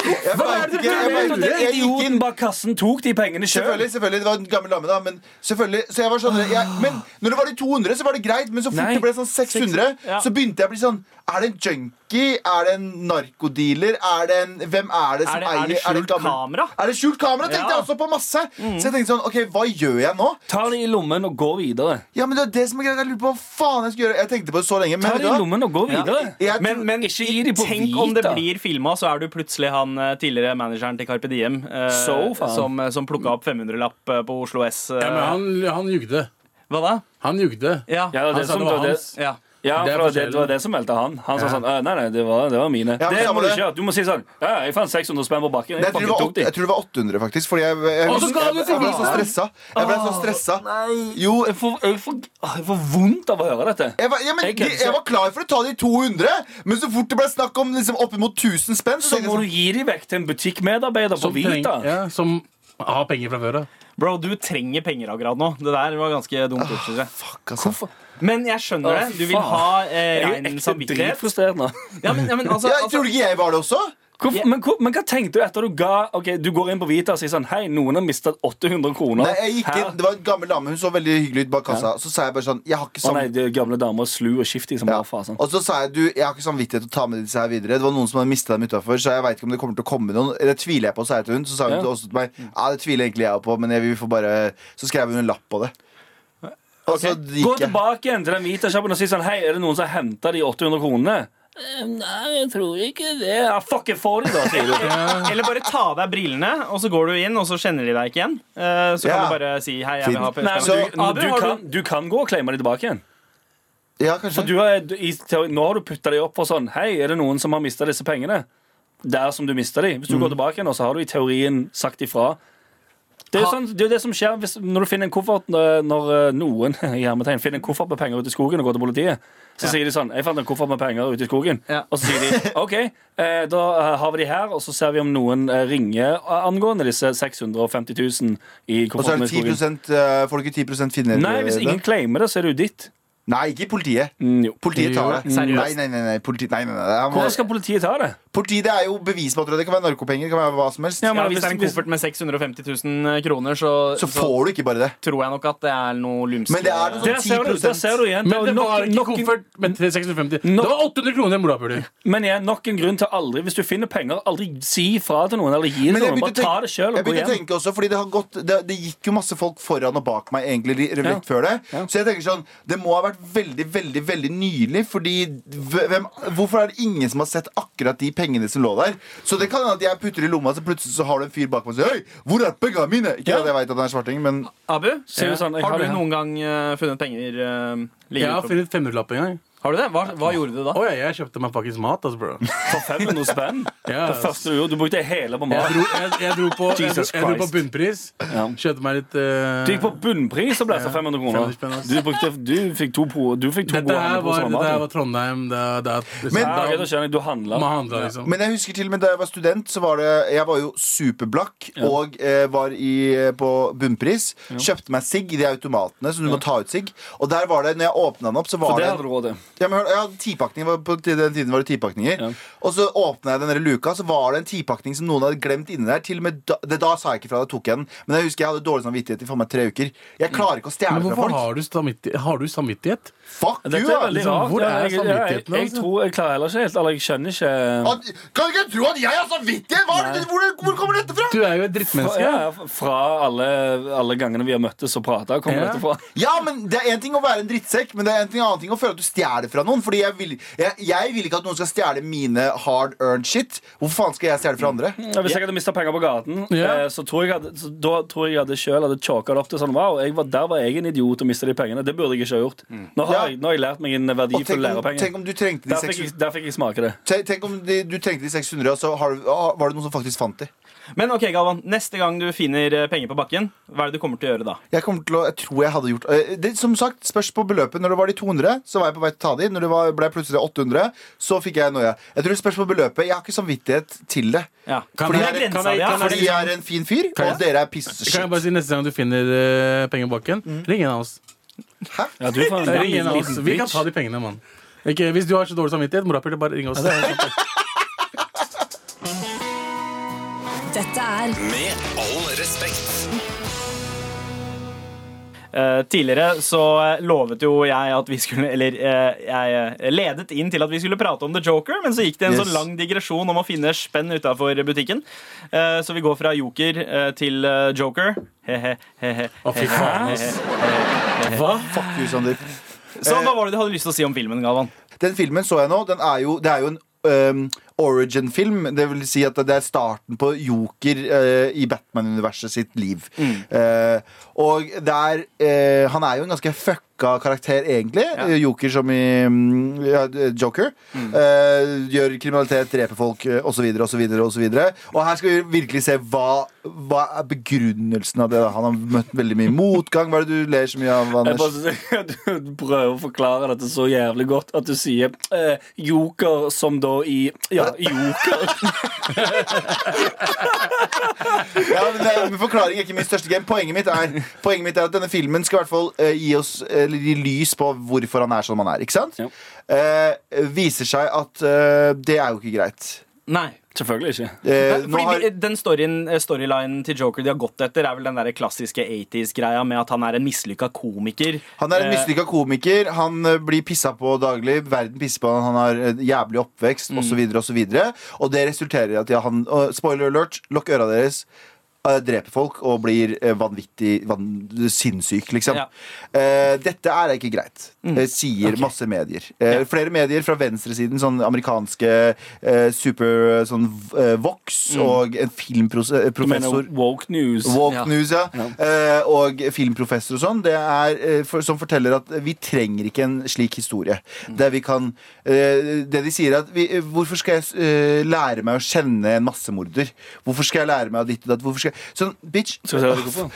Speaker 3: Jeg
Speaker 4: Hva
Speaker 3: fant
Speaker 4: er det du
Speaker 3: ikke- jeg
Speaker 4: vet
Speaker 3: bare-
Speaker 4: at den
Speaker 3: jeg gikk inn-
Speaker 4: idioten bak kassen tok de pengene sjøl?
Speaker 3: Selvfølgelig, selvfølgelig, det var en gammel dame da Men selvfølgelig, så jeg var sånn jeg, Men når det var de 200 så var det greit Men så fort
Speaker 4: Nei.
Speaker 3: det ble sånn 600
Speaker 2: ja.
Speaker 3: Så begynte jeg å bli sånn Er det en junkie? Er det en narkodealer? Er det en, hvem er det som
Speaker 2: Er det- er
Speaker 3: eier?
Speaker 2: det skjult
Speaker 3: gammel-
Speaker 2: kamera?
Speaker 3: Er det skjult kamera? Tenkte
Speaker 2: Ja.
Speaker 3: jeg også på masse Så jeg tenkte sånn, ok, hva gjør jeg nå?
Speaker 4: Ta det i lommen og gå videre.
Speaker 3: Ja, men det er det som er greit Jeg lurer på hva faen jeg skal gjøre Jeg tenkte på det så lenge
Speaker 4: Ta
Speaker 3: Men
Speaker 4: det i
Speaker 3: da
Speaker 4: lommen og gå videre.
Speaker 3: jeg,
Speaker 2: Men, men
Speaker 4: Ikke gi de på
Speaker 2: tenk om det
Speaker 4: Vita.
Speaker 2: blir filma, så er du plutselig han eh, tidligere manageren til Carpe Diem eh,
Speaker 4: So, faen.
Speaker 2: som, som plukka opp 500-lapp eh, på Oslo S. eh.
Speaker 5: Ja, men han, han jugde.
Speaker 2: Hva da?
Speaker 5: Han jugde.
Speaker 2: Ja.
Speaker 4: Ja, det, var
Speaker 5: Han
Speaker 4: det,
Speaker 5: sa
Speaker 4: som,
Speaker 5: det
Speaker 4: det,
Speaker 5: var
Speaker 4: var det,
Speaker 5: hans.
Speaker 2: Ja.
Speaker 4: ja,
Speaker 5: Det
Speaker 4: det, var det, det
Speaker 5: er
Speaker 4: var
Speaker 5: forskjellen.
Speaker 4: det som meldte han. Han sa sånn «Å, Nei, nei, det var, det var mine.
Speaker 3: Ja,
Speaker 4: det
Speaker 3: samme
Speaker 4: må du
Speaker 3: det.
Speaker 4: ikke gjøre. Du må si sånn Ja, jeg fant 600 spenn på bakken.
Speaker 3: Nei, jeg,
Speaker 4: Jeg,
Speaker 3: tror det
Speaker 4: fucking
Speaker 3: var
Speaker 4: tok
Speaker 3: åtte-
Speaker 4: de.
Speaker 3: jeg tror det var 800 faktisk Fordi jeg, jeg, jeg,
Speaker 5: Og så ga du
Speaker 3: jeg, jeg ble så
Speaker 5: tilbake.
Speaker 3: stressa Jeg ble så stressa Jo,
Speaker 4: Jeg får, jeg, får, åh, jeg får vondt av å høre dette.
Speaker 3: Jeg var, ja, men,
Speaker 4: Jeg
Speaker 3: de,
Speaker 4: kødder ikke.
Speaker 3: jeg var klar for å ta de 200, men så fort det ble snakk om liksom, oppimot 1000 spenn, så
Speaker 4: Så
Speaker 3: tenkte jeg sånn,
Speaker 4: må du gi de vekk til en butikkmedarbeider på
Speaker 5: Som, treng,
Speaker 4: Vita.
Speaker 5: ja, som har penger fra før av.
Speaker 2: Bro, du trenger penger akkurat nå. Det der var ganske dumt. gjort, synes jeg.
Speaker 3: sånn altså.
Speaker 2: Men jeg skjønner det. Du vil ha eh,
Speaker 4: Jeg er jo
Speaker 2: rein
Speaker 4: ekte
Speaker 2: samvittighet.
Speaker 4: dritfrustrert nå.
Speaker 2: Ja, men, ja, men, altså,
Speaker 3: ja,
Speaker 2: altså,
Speaker 3: Tror du ikke jeg var det også?
Speaker 4: Hvorfor, men, hvor, men hva tenkte du etter du ga Ok, Du går inn på Vita og sier sånn Hei, noen har mistet 800 kroner.
Speaker 3: Nei, jeg gikk inn, Det var en gammel dame, hun så veldig hyggelig ut bak kassa. Så sa jeg bare sånn Jeg har ikke
Speaker 4: Å nei,
Speaker 3: samvittighet.
Speaker 4: det er gamle damer og slu og skiftig som
Speaker 3: Ja.
Speaker 4: bare sånn. fasen.
Speaker 3: Og så sa jeg du, jeg har ikke samvittighet til å ta med disse her videre. Det var noen som hadde mista dem utafor, så jeg veit ikke om det kommer til å komme noen. Det tviler jeg på, sa jeg til hun. Så sa hun
Speaker 4: Ja.
Speaker 3: til også til meg ja, det tviler egentlig jeg på, men jeg vil få bare Så skrev hun en lapp på det. Og så
Speaker 4: Gå
Speaker 3: gikk jeg.
Speaker 4: tilbake igjen til den Vita-sjappen og si sånn Hei, er det noen som har henta de 800 kronene? «Eh, Nei, jeg tror ikke det. Ja, fuck, jeg får de, da, sier du.
Speaker 2: eh, eller bare ta av deg brillene, og så går du inn, og så kjenner de deg ikke igjen. Eh, Så kan
Speaker 3: Ja.
Speaker 2: du bare si hei, jeg vil ha
Speaker 4: Nei,
Speaker 2: penger.
Speaker 3: Så-
Speaker 4: men du,
Speaker 2: Abu,
Speaker 4: du,
Speaker 2: har
Speaker 4: kan, du kan gå og claime de tilbake igjen.
Speaker 3: Ja,
Speaker 4: For
Speaker 3: kanskje.
Speaker 4: du har, du- i, teori- nå har du putta de opp for sånn Hei, er det noen som har mista disse pengene? Der som du mista de. Hvis du
Speaker 3: Mm.
Speaker 4: går tilbake igjen, og så har du i teorien sagt ifra. Det er jo
Speaker 2: Ha-
Speaker 4: sånn, det, er jo det som skjer hvis, når du finner en koffert Når, når eh, noen i hermetegn finner en koffert med penger ute i skogen og går til politiet. Så sier de sånn 'Jeg fant en koffert med penger ute i skogen.'
Speaker 2: Ja.
Speaker 4: Og så sier de 'OK, eh, da eh, har vi de her, og så ser vi om noen eh, ringer angående disse 650 000 i
Speaker 3: Og så er
Speaker 4: kofferten
Speaker 3: det
Speaker 4: i skogen'.
Speaker 3: 10 eh, Får du ikke 10 finner
Speaker 4: Nei, hvis
Speaker 3: det?
Speaker 4: ingen claimer det, så er det jo ditt.
Speaker 3: Nei, ikke politiet.
Speaker 4: Mm, jo.
Speaker 3: Politiet tar det.
Speaker 2: Jo, seriøst.
Speaker 3: Nei, nei, nei. nei. Politi, nei, nei, nei. Det er-
Speaker 4: Hvordan skal politiet ta det?
Speaker 3: Politiet det er jo bevismateriale. Det kan være narkopenger, det kan være hva som helst.
Speaker 4: Ja, men-
Speaker 2: Ja, hvis det er en
Speaker 4: hvis-
Speaker 2: koffert med 650 000 kroner, så,
Speaker 3: så får du ikke bare det.
Speaker 2: tror jeg nok at det er noe lumsk.
Speaker 3: Men det er noe sånn-
Speaker 4: Der ser du, der ser du igjen.
Speaker 5: Men det
Speaker 4: nok-
Speaker 5: var ikke
Speaker 4: nok en-
Speaker 5: koffert med 650.
Speaker 4: Nok-
Speaker 5: Det var 800 kroner i morapuler.
Speaker 4: Men igjen, nok en grunn til aldri Hvis du finner penger, aldri si fra til noen. Eller gi
Speaker 3: Men jeg
Speaker 4: noen,
Speaker 3: begynte å tenke-
Speaker 4: Bare ta det sjøl
Speaker 3: jeg
Speaker 4: og gå
Speaker 3: begynte å
Speaker 4: hjem.
Speaker 3: tenke også, fordi det, har gått, det, det gikk jo masse folk foran og bak meg egentlig li- rett
Speaker 4: Ja.
Speaker 3: før det.
Speaker 4: Ja.
Speaker 3: Så jeg tenker sånn, det må ha vært veldig, veldig veldig nylig. Fordi hvem, Hvorfor er det ingen som har sett akkurat de pengene som lå der? Så det kan hende at jeg putter i lomma, så plutselig så har du en fyr bak meg og sier Hei, hvor er pengene mine? Ikke
Speaker 4: Ja.
Speaker 3: at jeg vet at han er svarting, men
Speaker 2: Abu,
Speaker 4: Sier du sånn, jeg har
Speaker 2: har du
Speaker 4: det her.
Speaker 2: noen gang eh, funnet penger? eh,
Speaker 5: Jeg
Speaker 2: liggende
Speaker 5: har
Speaker 2: på-
Speaker 5: funnet 500-lapp en gang.
Speaker 2: har du det? Hva, hva gjorde du da?
Speaker 5: Å ja, jeg kjøpte meg faktisk mat, altså, bro.
Speaker 4: For 500 spenn.
Speaker 5: Ja,
Speaker 4: Det første du gjorde. Du brukte hele på
Speaker 5: Jeg
Speaker 4: mat.
Speaker 5: dro, jeg, jeg dro, på, jeg dro,
Speaker 4: Jesus
Speaker 5: jeg dro på
Speaker 4: Christ.
Speaker 5: bunnpris.
Speaker 4: Ja.
Speaker 5: Kjøpte meg litt eh,
Speaker 4: Du gikk på bunnpris og ble så 500 kroner.
Speaker 5: 500 spenn, ass.
Speaker 4: Du, brukte, du fikk to, po- du fikk to
Speaker 5: Dette her
Speaker 4: gode
Speaker 5: var,
Speaker 4: poser med
Speaker 5: dette
Speaker 4: mat.
Speaker 5: her var Trondheim. Det, det, det,
Speaker 3: Men-
Speaker 5: det,
Speaker 4: Ja, ok, da skjønner jeg. Du handla.
Speaker 5: man handla, liksom.
Speaker 3: Men jeg husker til og med da jeg var student, så var det Jeg var jo superblakk og eh, var i, på bunnpris. Kjøpte meg sigg i de automatene, så du må ta ut sigg. Og der var det, når jeg åpna den opp, så var
Speaker 4: For det
Speaker 3: det
Speaker 4: hadde du råd til.
Speaker 3: Ja, men hør, ja, tipakning var, På den tiden var det tipakninger.
Speaker 4: Ja.
Speaker 3: Og så åpna jeg den der luka, så var det en tipakning som noen hadde glemt inni der. Til og med da, det, da sa jeg ikke fra, da tok jeg den. Men jeg husker jeg hadde dårlig samvittighet i for meg tre uker.
Speaker 4: Mm.
Speaker 3: Jeg klarer ikke å
Speaker 5: Men
Speaker 3: stjele fra
Speaker 5: hvorfor
Speaker 3: folk.
Speaker 5: har du samvittighet? Har du samvittighet?
Speaker 3: Fuck
Speaker 4: Dette
Speaker 3: you!
Speaker 4: er
Speaker 3: da.
Speaker 4: veldig
Speaker 5: liksom,
Speaker 4: rart.
Speaker 5: hvor
Speaker 4: Ja,
Speaker 5: er
Speaker 4: jeg, jeg, jeg,
Speaker 5: samvittigheten,
Speaker 4: jeg
Speaker 5: altså?
Speaker 4: tror jeg klarer heller ikke helt Eller jeg skjønner ikke
Speaker 3: At- Kan ikke jeg tro at jeg har samvittighet?! Hva er det, hvor, hvor kommer dette fra?!
Speaker 5: Du er jo et
Speaker 4: fra,
Speaker 5: drittmenneske.
Speaker 4: ja, ja, fra alle, alle gangene vi har møttes og prata, kommer
Speaker 5: Ja.
Speaker 4: dette fra.
Speaker 3: Ja, men Det er én ting å være en drittsekk, men det er en ting, annen ting å føle at du stjeler fra noen. Fordi jeg vil, jeg, jeg vil ikke at noen skal stjele mine hard earned shit. Hvorfor faen skal jeg stjele fra andre?
Speaker 5: Mm.
Speaker 4: Ja, Hvis jeg hadde mista penger på gaten,
Speaker 5: Ja.
Speaker 4: eh, så tror jeg hadde, så da tror jeg hadde sjøl hadde chalka det opp til sånn Wow, jeg var, der var jeg en idiot og mista de pengene. Det burde jeg ikke ha gjort. Nå har,
Speaker 3: Ja.
Speaker 4: jeg, nå har jeg lært meg en
Speaker 3: Og
Speaker 4: verdifull
Speaker 3: tenk om,
Speaker 4: lærepenge.
Speaker 3: tenk om du trengte de
Speaker 4: Der fikk,
Speaker 3: 600
Speaker 4: jeg, der fikk jeg smake det.
Speaker 3: Te- Tenk om de, du trengte de 600, og så har, du- ah, var det noen som faktisk fant de.
Speaker 2: Men ok, Galvan, neste gang du finner eh, penger på bakken, hva er det du kommer til å gjøre da?
Speaker 3: Jeg kommer til å, jeg tror jeg hadde gjort eh, det, Som sagt, spørs på beløpet. Når det var de 200, så var jeg på vei til å ta de. Når det var, ble plutselig 800, så fikk jeg noia. Jeg tror det spørs på beløpet. Jeg har ikke samvittighet til det.
Speaker 2: Ja.
Speaker 5: Kan
Speaker 2: Fordi
Speaker 5: jeg-
Speaker 2: det er
Speaker 5: kan
Speaker 2: grensa
Speaker 5: jeg-
Speaker 2: di, ja.
Speaker 5: kan
Speaker 3: Fordi jeg er en fin fyr, og dere er piss.
Speaker 5: Kan jeg bare si Neste gang du finner eh, penger i bakken, ring en av oss.
Speaker 4: Ja, du er faen-
Speaker 5: Ring en av
Speaker 4: liten
Speaker 5: oss. Vi kan
Speaker 4: bitch.
Speaker 5: ta de pengene, mann. Ikke, hvis du har så dårlig samvittighet, morapuler, bare ring oss.
Speaker 6: Dette er
Speaker 7: Med all respekt.
Speaker 2: Eh, tidligere så eh, lovet jo jeg at vi skulle Eller eh, jeg eh, ledet inn til at vi skulle prate om The Joker, men så gikk det en
Speaker 3: Yes.
Speaker 2: sånn lang digresjon om å finne spenn utafor butikken. Eh, så vi går fra Joker eh, til eh, Joker. He-he, he-he,
Speaker 5: Å, fy
Speaker 2: he-he,
Speaker 5: faen, ass.
Speaker 2: he-he, he-he.
Speaker 3: Fuck you, Sandeep. Eh,
Speaker 2: Så hva var det du hadde lyst til å si om filmen, Galvan?
Speaker 3: Den filmen så jeg nå. Den er jo, det er jo en ehm, origin-film. Det vil si at det er starten på Joker eh, i Batman-universet sitt liv.
Speaker 4: Mm.
Speaker 3: Eh, og det er eh, Han er jo en ganske fucka karakter, egentlig. Eh, Joker som i mm, ja, Joker.
Speaker 4: Mm.
Speaker 3: Eh, gjør kriminalitet, dreper folk eh, osv. osv. osv. Og her skal vi virkelig se hva, hva er begrunnelsen av det. da. Han har møtt veldig mye motgang. Hva er det du ler så mye av,
Speaker 4: Jeg
Speaker 3: Anders?
Speaker 4: bare, du prøver å forklare dette så jævlig godt at du sier eh, joker som da i Ja, joker.
Speaker 3: Ja, men det er, men forklaring er ikke min største game. Poenget mitt er, poenget mitt er at denne filmen skal i hvert fall eh, gi oss eller gi lys på hvorfor han er som han er. Ikke sant?
Speaker 4: Ja.
Speaker 3: Eh, viser seg at eh, det er jo ikke greit.
Speaker 2: Nei.
Speaker 4: Selvfølgelig ikke.
Speaker 3: Eh, nå
Speaker 2: Fordi
Speaker 3: har,
Speaker 2: de- Den storylinen storylinen til Joker de har gått etter, er vel den der klassiske 80s-greia med at han er en mislykka komiker.
Speaker 3: han er en
Speaker 2: Eh,
Speaker 3: mislykka komiker. Han eh, blir pissa på daglig. Verden pisser på han Han har eh, jævlig oppvekst osv. Og, så videre, og, så videre. og det resulterer i at ja, han og Spoiler alert, lukk øra deres. eh, Dreper folk og blir eh, vanvittig van, sinnssyk, liksom.
Speaker 2: Ja.
Speaker 3: Eh, dette er ikke greit, eh, sier masse medier. Eh, Flere medier fra venstresiden, sånn amerikanske eh, super sånn eh, Vox og en
Speaker 4: Du mener
Speaker 3: filmprofessor
Speaker 4: woke news.
Speaker 3: Walk
Speaker 2: Ja.
Speaker 3: News, ja. Eh, og filmprofessor og sånn. Det er eh, for, Som forteller at vi trenger ikke en slik historie.
Speaker 4: Mm.
Speaker 3: Der vi kan eh, Det de sier, er at vi, eh, hvorfor skal jeg eh, lære meg å kjenne en massemorder? Hvorfor skal jeg lære meg ditt og datt? Hvorfor skal jeg Sånn, bitch.
Speaker 4: Skal jeg si deg hvorfor?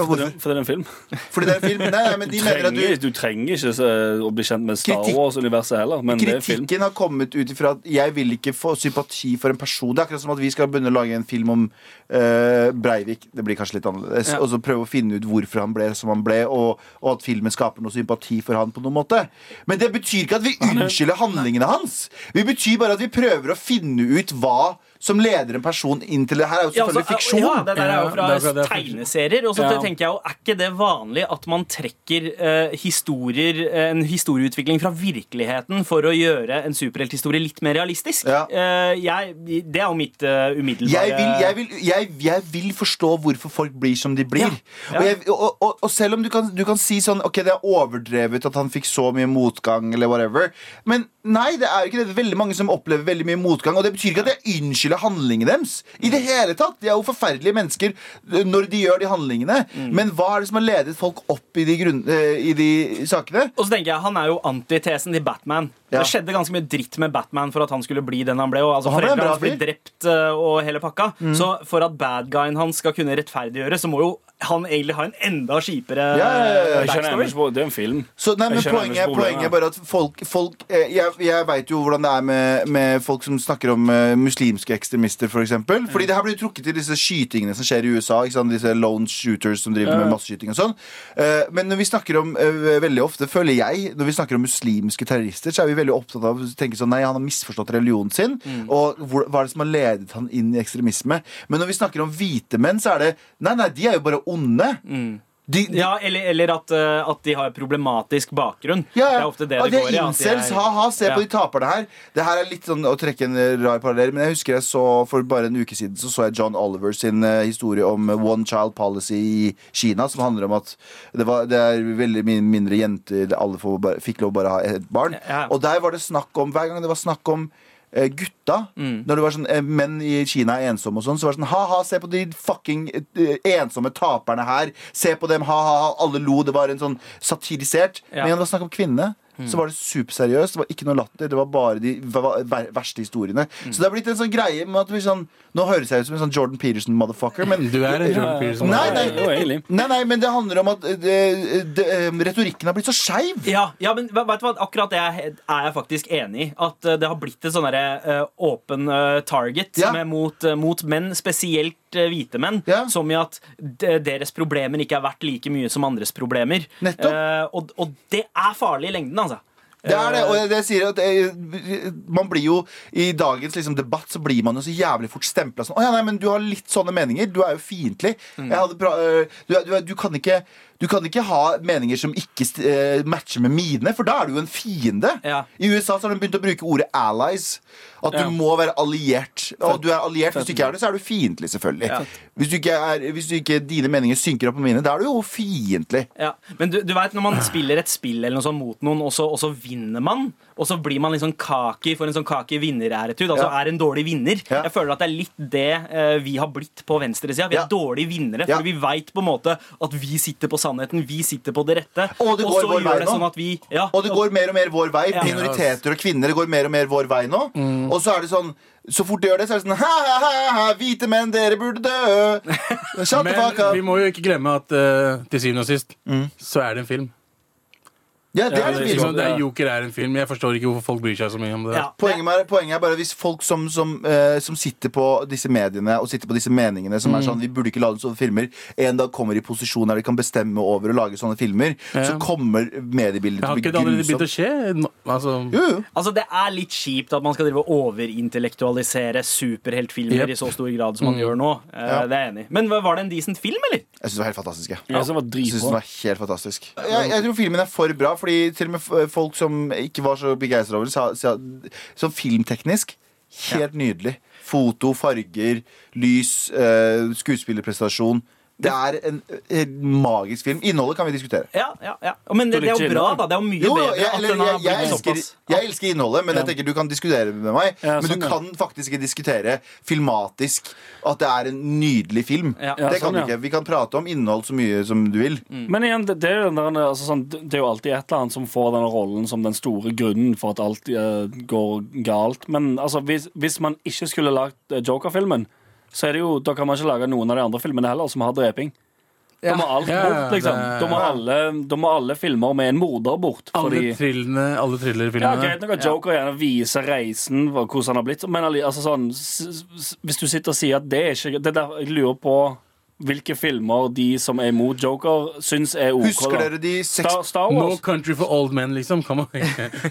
Speaker 3: Hvorfor?
Speaker 4: For det er en film.
Speaker 3: Fordi det er en film? Nei, nei, men
Speaker 4: Du
Speaker 3: de mener
Speaker 4: trenger,
Speaker 3: at du
Speaker 4: du trenger ikke så, å bli kjent med Star
Speaker 3: Kritikk-
Speaker 4: Wars-universet heller, men det er film.
Speaker 3: Kritikken har kommet ut ifra at jeg vil ikke få sympati for en person. Det er akkurat som at vi skal begynne å lage en film om eh, Breivik. Det blir kanskje litt annerledes.
Speaker 2: Ja.
Speaker 3: Og så prøve å finne ut hvorfor han ble som han ble, og, og at filmen skaper noe sympati for han på noen måte. Men det betyr ikke at vi unnskylder handlingene hans. Vi betyr bare at vi prøver å finne ut hva som leder en person inn til det her. er jo
Speaker 2: Ja, altså,
Speaker 3: selvfølgelig fiksjon.
Speaker 2: Ja, det der er jo
Speaker 5: Ja, det er
Speaker 2: fra
Speaker 5: akkurat det.
Speaker 2: tegneserier. Og så
Speaker 4: Ja.
Speaker 2: tenker jeg jo, Er ikke det vanlig at man trekker eh, historier, eh, en historieutvikling fra virkeligheten for å gjøre en superhelthistorie litt mer realistisk?
Speaker 3: Ja.
Speaker 2: Eh, jeg, det er jo mitt eh, umiddelbare
Speaker 3: jeg vil, jeg, vil, jeg, jeg vil forstå hvorfor folk blir som de blir. Og, jeg, og, og, og selv om du kan, du kan si sånn Ok, det er overdrevet at han fikk så mye motgang, eller whatever. Men nei, det er ikke det. Det er veldig mange som opplever veldig mye motgang. Og det betyr ikke at jeg unnskylder handlingene deres. I det hele tatt. De er jo forferdelige mennesker eh, når de gjør de handlingene. Men hva er det som har ledet folk opp i de, grunn, eh, i de sakene?
Speaker 2: Og så tenker jeg, Han er jo antitesen til Batman.
Speaker 3: Ja.
Speaker 2: Det skjedde ganske mye dritt med Batman for at han skulle bli den han ble. Og altså,
Speaker 3: Og han ble en
Speaker 2: Foreldrene
Speaker 3: bra
Speaker 2: hans ble
Speaker 3: fyr. Mm.
Speaker 2: drept eh, og hele pakka. Så for at bad guyen hans skal kunne rettferdiggjøre, så må jo han egentlig har en enda kjipere
Speaker 3: Ja, ja, ja, ja.
Speaker 4: Jeg skjønner
Speaker 2: backstory.
Speaker 4: ennå ikke på- Det er en film.
Speaker 3: Så, nei, men
Speaker 4: Jeg skjønner
Speaker 3: poenget,
Speaker 4: hennes problem,
Speaker 3: poenget
Speaker 4: ja.
Speaker 3: er bare at folk, folk eh, Jeg, jeg veit jo hvordan det er med, med folk som snakker om eh, muslimske ekstremister, f.eks. For eksempel.
Speaker 4: Mm.
Speaker 3: Fordi det her blir jo trukket til disse skytingene som skjer i USA. Ikke sant? Disse lone shooters som driver med masseskyting og sånn. Eh, men når vi snakker om eh, veldig ofte, føler jeg, når vi snakker om muslimske terrorister, så er vi veldig opptatt av å tenke sånn Nei, han har misforstått religionen sin.
Speaker 4: Mm.
Speaker 3: Og hvor, hva er det som har ledet han inn i ekstremisme? Men når vi snakker om hvite menn, så er det Nei, nei, de er jo bare onde.
Speaker 4: Mm.
Speaker 3: De, de,
Speaker 2: Ja, eller, eller at, eh, at de har problematisk bakgrunn.
Speaker 3: Ja, ja.
Speaker 2: Det er ofte det
Speaker 3: Ja,
Speaker 2: det går i.
Speaker 3: er
Speaker 2: at de er-
Speaker 3: incels, ha-ha, se
Speaker 2: Ja.
Speaker 3: på de taperne her. Det her er litt sånn å trekke en eh, rar parallell, men jeg husker jeg så for bare en uke siden så så jeg John Oliver sin eh, historie om eh, one child policy i Kina, som handler om at det, var, det er veldig min- mindre jenter, det- alle får bare, fikk lov å bare ha et barn.
Speaker 2: Ja.
Speaker 3: Og der var det snakk om, hver gang det var snakk om eh, gutta,
Speaker 2: Mm.
Speaker 3: når det var sånn eh, menn i Kina er ensomme og sånn, så var det sånn ha-ha, se på de fucking eh, ensomme taperne her, se på dem, ha-ha, alle lo, det var en sånn satirisert.
Speaker 2: Ja.
Speaker 3: Men når det var snakk om kvinne, så var det superseriøst, det var ikke noe latter, det var bare de ver- ver- verste historiene.
Speaker 5: Mm.
Speaker 3: Så det har blitt en sånn greie med at det blir sånn, nå høres jeg ut som en sånn Jordan Peterson-motherfucker, men
Speaker 5: Du er en Jordan Peterson.
Speaker 3: Nei, nei.
Speaker 4: Jo, egentlig.
Speaker 3: Nei, nei, men det handler om at eh, det- det- retorikken har blitt så skeiv.
Speaker 2: Ja, ja, men vet du hva? akkurat det er er jeg faktisk enig i. At eh, det har blitt et sånn derre, eh, åpen eh, target
Speaker 3: Ja.
Speaker 2: med, mot, eh, mot menn, spesielt eh, hvite menn.
Speaker 3: Ja.
Speaker 2: Som i at de, deres problemer ikke er verdt like mye som andres problemer.
Speaker 3: Nettopp.
Speaker 2: Eh, og, og det er farlig i lengden, altså.
Speaker 3: Det er det, og jeg- det jeg sier at eh, man blir jo I dagens liksom, debatt så blir man jo så jævlig fort stempla sånn Å ja, nei, men du har litt sånne meninger. Du er jo fiendtlig. Jeg hadde pra- eh, Du, er- du, er- du, kan ikke- du kan ikke ha meninger som ikke st- eh, matcher med mine, for da er du jo en fiende.
Speaker 2: Ja.
Speaker 3: I USA så har de begynt å bruke ordet allies. At du
Speaker 4: Ja.
Speaker 3: må være alliert. Og du er alliert, hvis du ikke er det, så er du fiendtlig, selvfølgelig. Hvis, du ikke er, hvis du ikke dine meninger synker opp med mine, da er du jo fiendtlig.
Speaker 2: Ja. Men du, du vet, når man spiller et spill eller noe sånt mot noen, og så, og så vinner man, og så blir man litt sånn kaki for en sånn kaki vinner-æretud, altså
Speaker 3: Ja.
Speaker 2: er en dårlig vinner.
Speaker 3: Ja.
Speaker 2: Jeg føler at det er litt det eh, vi har blitt på venstresida. Vi er
Speaker 3: Ja.
Speaker 2: dårlige vinnere,
Speaker 3: Ja.
Speaker 2: for vi veit på en måte at vi sitter på sannheten, vi sitter på det rette,
Speaker 3: Og det går
Speaker 2: så
Speaker 3: vår vei
Speaker 2: gjør det
Speaker 3: nå.
Speaker 2: sånn at vi ja,
Speaker 3: Og det
Speaker 2: og-
Speaker 3: går mer og mer vår vei.
Speaker 2: Ja.
Speaker 3: Minoriteter og kvinner går mer og mer vår vei nå.
Speaker 5: Mm.
Speaker 3: Og så er det sånn så fort det gjør det, så er det sånn ha, ha, ha, ha, Hvite menn, dere burde dø! Shut the fuck
Speaker 5: Men
Speaker 3: up!
Speaker 5: vi må jo ikke glemme at eh, til syvende og sist så er det en film.
Speaker 3: Ja, det
Speaker 4: Ja,
Speaker 3: er en
Speaker 4: det er
Speaker 3: film.
Speaker 5: Liksom, det er Joker er en film. Jeg forstår ikke hvorfor folk bryr seg så mye om det.
Speaker 2: ja.
Speaker 3: Poenget er, poenget er bare hvis folk som, som, eh, som sitter på disse mediene og sitter på disse meningene som
Speaker 5: Mm.
Speaker 3: er sånn Vi burde ikke lage sånne filmer. En dag kommer i posisjon der de kan bestemme over å lage sånne filmer. Så
Speaker 5: Ja.
Speaker 3: kommer mediebildet
Speaker 5: Jeg har ikke
Speaker 3: til
Speaker 5: det
Speaker 3: å bli
Speaker 5: allerede begynt å
Speaker 3: grusomt.
Speaker 5: skje? Nå- Altså,
Speaker 3: Jo, jo.
Speaker 2: Altså, Det er litt kjipt at man skal drive og overintellektualisere superheltfilmer
Speaker 5: Yep.
Speaker 2: i så stor grad som man gjør nå. Eh, Det er jeg enig i. Men var det en decent film, eller?
Speaker 3: Jeg syns det var helt fantastisk. jeg.
Speaker 4: Jeg som var
Speaker 3: Jeg synes den
Speaker 4: dritbra.
Speaker 3: var helt fantastisk. Jeg, jeg tror filmen er for bra, fordi til og med f- eh, folk som ikke var så begeistra over det, sa, sa sånn filmteknisk helt nydelig. Foto, farger, lys, eh, skuespillerprestasjon. Det er en, eh, en magisk film. Innholdet kan vi diskutere.
Speaker 2: Ja, ja, ja. Men det, det er jo bra, da. Det er jo mye
Speaker 3: Jo, jo,
Speaker 2: bedre
Speaker 3: jeg,
Speaker 2: at
Speaker 3: eller,
Speaker 2: den
Speaker 3: jeg,
Speaker 2: har
Speaker 3: jeg,
Speaker 2: blitt
Speaker 3: elsker,
Speaker 2: såpass.
Speaker 3: jeg elsker innholdet, men jeg tenker du kan diskutere det med meg.
Speaker 4: Ja,
Speaker 3: men du
Speaker 4: sånn, ja.
Speaker 3: kan faktisk ikke diskutere filmatisk at det er en nydelig film.
Speaker 2: Ja.
Speaker 4: Ja,
Speaker 3: det kan
Speaker 4: sånn,
Speaker 3: du
Speaker 4: ja. Mm.
Speaker 3: ikke. Vi kan prate om innhold så mye som du vil.
Speaker 4: Men igjen, det, det, er jo den der, altså, sånn, det er jo alltid et eller annet som får denne rollen som den store grunnen for at alt eh, går galt. Men altså, hvis, hvis man ikke skulle lagd eh, Joker-filmen, så er det jo, da kan man ikke lage noen av de andre filmene heller som har dreping. Da må alt
Speaker 5: Ja,
Speaker 4: bort, liksom.
Speaker 5: det-
Speaker 4: Da må alle, da må alle filmer med en morder bort.
Speaker 5: alle
Speaker 4: Fordi,
Speaker 5: thrillene, alle
Speaker 4: ja,
Speaker 5: thrillerfilmene.
Speaker 4: greit nok at Joker gjerne viser reisen, hva- hvordan han har blitt. Men alli- altså, sånn, s- s- hvis du sitter og sier at det er ikke det er der, Jeg lurer på hvilke filmer de som er imot Joker, syns er OK.
Speaker 3: Husker
Speaker 4: da.
Speaker 3: dere de seks
Speaker 4: Star, Star
Speaker 5: No
Speaker 4: Wars?
Speaker 5: country for old men, liksom. Kan man Du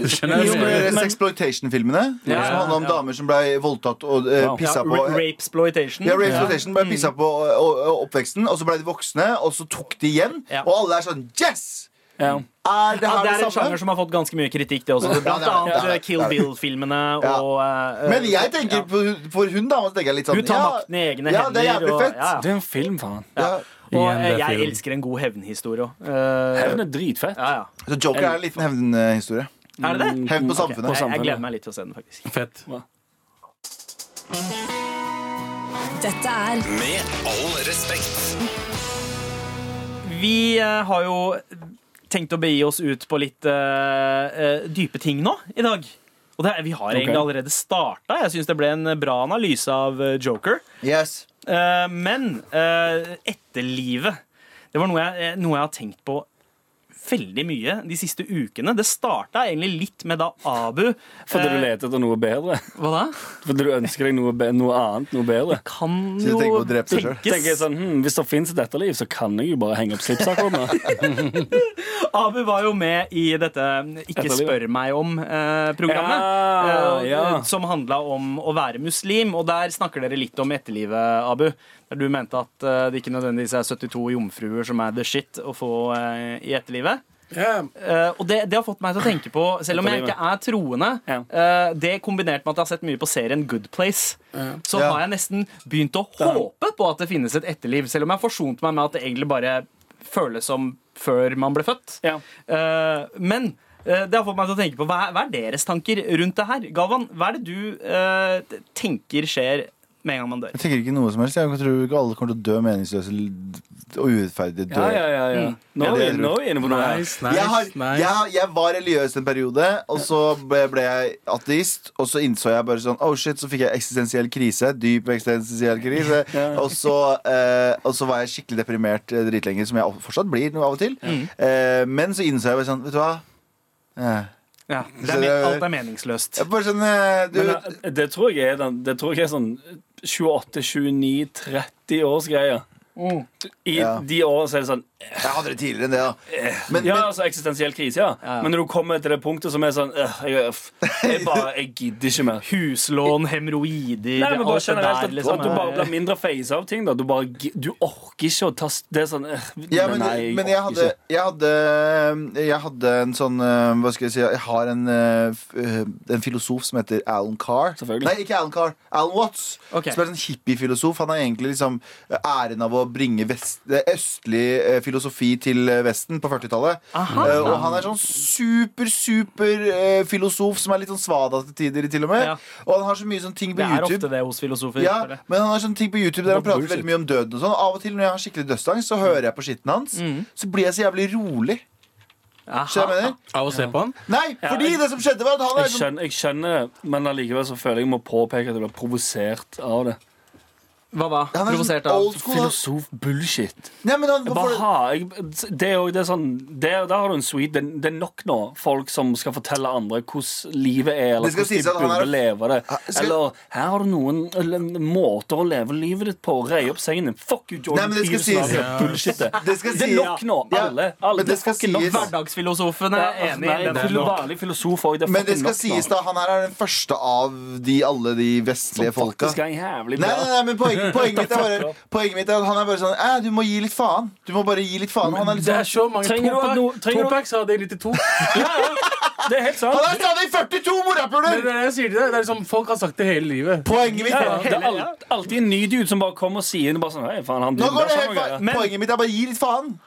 Speaker 5: skjønner
Speaker 3: Husker
Speaker 5: jeg
Speaker 3: dere
Speaker 5: mener.
Speaker 3: Sexploitation-filmene?
Speaker 2: Ja.
Speaker 3: Som handla om damer som ble voldtatt og uh,
Speaker 4: Ja.
Speaker 3: pissa på.
Speaker 2: Ra- Mm. Rapesploitation.
Speaker 3: Ja, Rapesploitation ble pissa på eh, og- og oppveksten, og så ble de voksne, og så tok de igjen.
Speaker 2: Ja.
Speaker 3: Og alle er sånn Yes! Er
Speaker 4: Ja.
Speaker 3: det
Speaker 2: Ja,
Speaker 3: her
Speaker 2: det er
Speaker 3: det,
Speaker 2: en
Speaker 3: samme?
Speaker 2: sjanger som har fått ganske mye kritikk, det også.
Speaker 3: Ja, det er
Speaker 2: Blant
Speaker 3: det.
Speaker 2: annet
Speaker 3: Ja,
Speaker 2: eh, Kill
Speaker 3: det er det.
Speaker 2: Bill-filmene
Speaker 3: Ja.
Speaker 2: og eh,
Speaker 3: Men jeg
Speaker 2: ja.
Speaker 3: tenker på, for hun, da. Så tenker jeg litt sånn
Speaker 2: Hun tar
Speaker 3: ja,
Speaker 2: makten i egne
Speaker 3: ja,
Speaker 2: hender.
Speaker 3: det er jævlig
Speaker 2: og-
Speaker 3: fett.
Speaker 2: ja,
Speaker 4: Det er en film, faen.
Speaker 3: Ja.
Speaker 2: ja. Og
Speaker 5: Igjen, det
Speaker 2: eh,
Speaker 5: er
Speaker 2: jeg
Speaker 5: film.
Speaker 2: elsker en god hevnhistorie òg. Ja,
Speaker 4: Hevn er dritfett.
Speaker 2: ja.
Speaker 3: Så Joker er en liten hevnhistorie.
Speaker 2: Er det det?
Speaker 3: Hevn på
Speaker 4: Ok,
Speaker 3: samfunnet.
Speaker 4: på
Speaker 2: Jeg, jeg
Speaker 4: samfunnet.
Speaker 2: gleder meg litt til å se den, faktisk.
Speaker 5: Fett.
Speaker 6: Dette er
Speaker 7: Med all respekt.
Speaker 2: Vi eh, har jo tenkt å begi oss ut på litt eh, eh, dype ting nå i dag. Og det, er- vi har egentlig allerede starta. Jeg syns det ble en bra analyse av eh, Joker.
Speaker 3: Yes.
Speaker 2: Eh, men eh, etterlivet Det var noe jeg, eh, noe jeg har tenkt på veldig mye de siste ukene. Det starta egentlig litt med da Abu
Speaker 4: Fordi du
Speaker 2: eh,
Speaker 4: leter etter noe bedre?
Speaker 5: Hva da?
Speaker 4: Fordi du ønsker deg noe, be noe annet? Noe bedre?
Speaker 2: kan
Speaker 3: du
Speaker 2: jo
Speaker 3: tenker på å drepe seg selv?
Speaker 4: Tenker jeg sånn, hm, Hvis det fins et etterliv, så kan jeg jo bare henge opp slipsakene.
Speaker 2: Abu var jo med i dette Ikke
Speaker 4: Etterlivet.
Speaker 2: spør meg eh, om-programmet.
Speaker 4: Ja, ja.
Speaker 2: eh, Som handla om å være muslim. Og der snakker dere litt om etterlivet, Abu. Der du mente at eh, det ikke nødvendigvis er 72 jomfruer som er the shit å få eh, i etterlivet. Eh, og det, det har fått meg til å tenke på, selv om jeg ikke er troende
Speaker 4: Ja.
Speaker 2: eh, Det kombinert med at jeg har sett mye på serien Good Place, så
Speaker 3: Ja.
Speaker 2: har jeg nesten begynt å håpe på at det finnes et etterliv, selv om jeg har forsont meg med at det egentlig bare føles som før man ble født.
Speaker 4: Ja.
Speaker 2: Eh, men eh, det har fått meg til å tenke på hva er, hva er deres tanker rundt det her? Galvan, hva er det du eh, tenker skjer med en gang man dør?
Speaker 3: Jeg tenker ikke noe som helst. Jeg tror ikke alle kommer til å dø meningsløse l- og urettferdig død.
Speaker 4: Ja, ja, ja, ja. Mm. Nå,
Speaker 3: Ja,
Speaker 4: er vi,
Speaker 3: det er
Speaker 4: nå er vi inne på noe her.
Speaker 5: Nice, nice,
Speaker 3: jeg, har,
Speaker 5: nice.
Speaker 3: jeg, har- jeg var religiøs en periode, og så ble, ble jeg ateist. Og så innså jeg bare sånn Oh shit, så fikk jeg eksistensiell krise. Dyp eksistensiell krise. Og, så, eh, og så var jeg skikkelig deprimert eh, dritlenge, som jeg fortsatt blir noe av og til. Eh, men så innså jeg bare sånn Vet du hva? Eh,
Speaker 2: Ja, det er, men- alt er meningsløst.
Speaker 3: jeg bare sånn eh, du,
Speaker 4: Men eh, det tror jeg er, den, det tror jeg er sånn 28-29-30 års greie. Mm. I
Speaker 3: Ja.
Speaker 4: de årene så er det sånn
Speaker 3: Jeg hadde det tidligere enn det, da. Men,
Speaker 4: Ja,
Speaker 3: men,
Speaker 4: altså eksistensiell krise,
Speaker 2: Ja,
Speaker 4: ja.
Speaker 2: ja.
Speaker 4: Men når du kommer til det punktet som er sånn øh, jeg, jeg bare, jeg gidder ikke mer.
Speaker 2: Huslån, hemoroider,
Speaker 4: Nei, men bare
Speaker 2: alt det
Speaker 4: generelt
Speaker 2: der.
Speaker 4: at,
Speaker 2: Liksom,
Speaker 4: at du bare
Speaker 2: er-
Speaker 4: blir mindre face av ting. Da. Du, bare, gi- du orker ikke å ta s- Det er sånn øh,
Speaker 3: ja, men,
Speaker 4: Nei, jeg
Speaker 3: men jeg,
Speaker 4: orker
Speaker 3: hadde, jeg, hadde, eh, jeg hadde en sånn eh, Hva skal jeg si Jeg har en, eh, f- eh, en filosof som heter Alan Carr.
Speaker 4: Selvfølgelig.
Speaker 3: Nei, ikke Alan Carr. Alan Watts.
Speaker 2: Ok.
Speaker 3: Som er en sånn hippiefilosof. Han har egentlig liksom æren av å bringe vest, eh, østlig eh, filosofi til eh, Vesten på 40-tallet.
Speaker 2: Aha.
Speaker 3: Eh, og han er sånn super, super eh, filosof som er litt sånn svada til tider, til og med.
Speaker 2: Ja.
Speaker 3: Og han har så mye sånne ting på
Speaker 2: Det er
Speaker 3: YouTube.
Speaker 2: ofte det hos filosofer.
Speaker 3: Ja,
Speaker 2: føler jeg.
Speaker 3: men han har sånne ting på YouTube der han prater
Speaker 4: bullshit.
Speaker 3: veldig mye om døden og sånn. Av og til når jeg har skikkelig dødsangst, så hører jeg på skitten hans.
Speaker 4: Mm.
Speaker 3: Så blir jeg så jævlig rolig. Skjønner du hva jeg mener?
Speaker 5: Av å se på han?
Speaker 3: Nei, fordi det som skjedde, var at han er
Speaker 4: Jeg
Speaker 3: sånn
Speaker 4: skjønner, jeg skjønner det, men allikevel så føler jeg jeg må påpeke at jeg ble provosert av det.
Speaker 2: Hva da?
Speaker 3: Han er
Speaker 2: Provosert
Speaker 3: sånn
Speaker 2: av
Speaker 3: old school. Han.
Speaker 4: Filosof-bullshit.
Speaker 3: Nei, men han,
Speaker 4: Bare
Speaker 3: hvorfor,
Speaker 4: ha jeg, Det er jo det er sånn det, Der har du en sweet det, det er nok nå folk som skal fortelle andre hvordan livet er, eller
Speaker 3: Det skal
Speaker 4: hvordan de
Speaker 3: sies at han
Speaker 4: burde
Speaker 3: er-
Speaker 4: leve det.
Speaker 3: skal-
Speaker 4: Eller her har du noen eller, måter å leve livet ditt på. Rei opp sengen din. Fuck you,
Speaker 3: Nei,
Speaker 4: Jordan
Speaker 3: men det skal
Speaker 4: Peterson,
Speaker 3: sies-
Speaker 4: alle bullshit.
Speaker 3: det skal
Speaker 4: Det er
Speaker 3: sies-
Speaker 4: nok nå.
Speaker 3: Ja,
Speaker 4: Alle. alle
Speaker 3: men det skal
Speaker 4: fucking nok.
Speaker 3: sies-
Speaker 2: Hverdagsfilosofen
Speaker 4: Ja,
Speaker 2: er enig.
Speaker 4: Nei,
Speaker 2: i den.
Speaker 4: det er nok. vanlige filosofer òg. Det er
Speaker 3: men det skal
Speaker 4: fucking nok
Speaker 3: sies,
Speaker 4: nå.
Speaker 3: da. Han her er den første av de alle de vestlige folka.
Speaker 4: Faktisk er jeg jævlig
Speaker 3: Nei,
Speaker 4: bra.
Speaker 3: nei, nei, men poenget, poenget, mitt er bare, poenget mitt er at han er bare sånn Æ, du må gi litt faen. Du må bare gi litt faen. Han er
Speaker 5: Det
Speaker 3: liksom
Speaker 5: er så mange
Speaker 4: Trenger du at noe-
Speaker 5: Topac-
Speaker 4: trenger du-
Speaker 5: Topac sa det i 92.
Speaker 4: Ja, ja. Det er helt sant.
Speaker 3: Han er stadig 42
Speaker 5: Det er
Speaker 3: morapuler!
Speaker 5: det jeg sier til deg. Det er liksom, folk har sagt det hele livet.
Speaker 3: Poenget mitt
Speaker 4: Ja,
Speaker 3: er
Speaker 4: ja, det er al- alltid en ny dude som bare kommer og sier det. Bare sånn, Hei, faen, han
Speaker 3: Nå går
Speaker 4: duden der
Speaker 3: det
Speaker 4: sa
Speaker 3: helt
Speaker 4: noe, ja.
Speaker 3: feil. Poenget mitt er bare gi litt faen.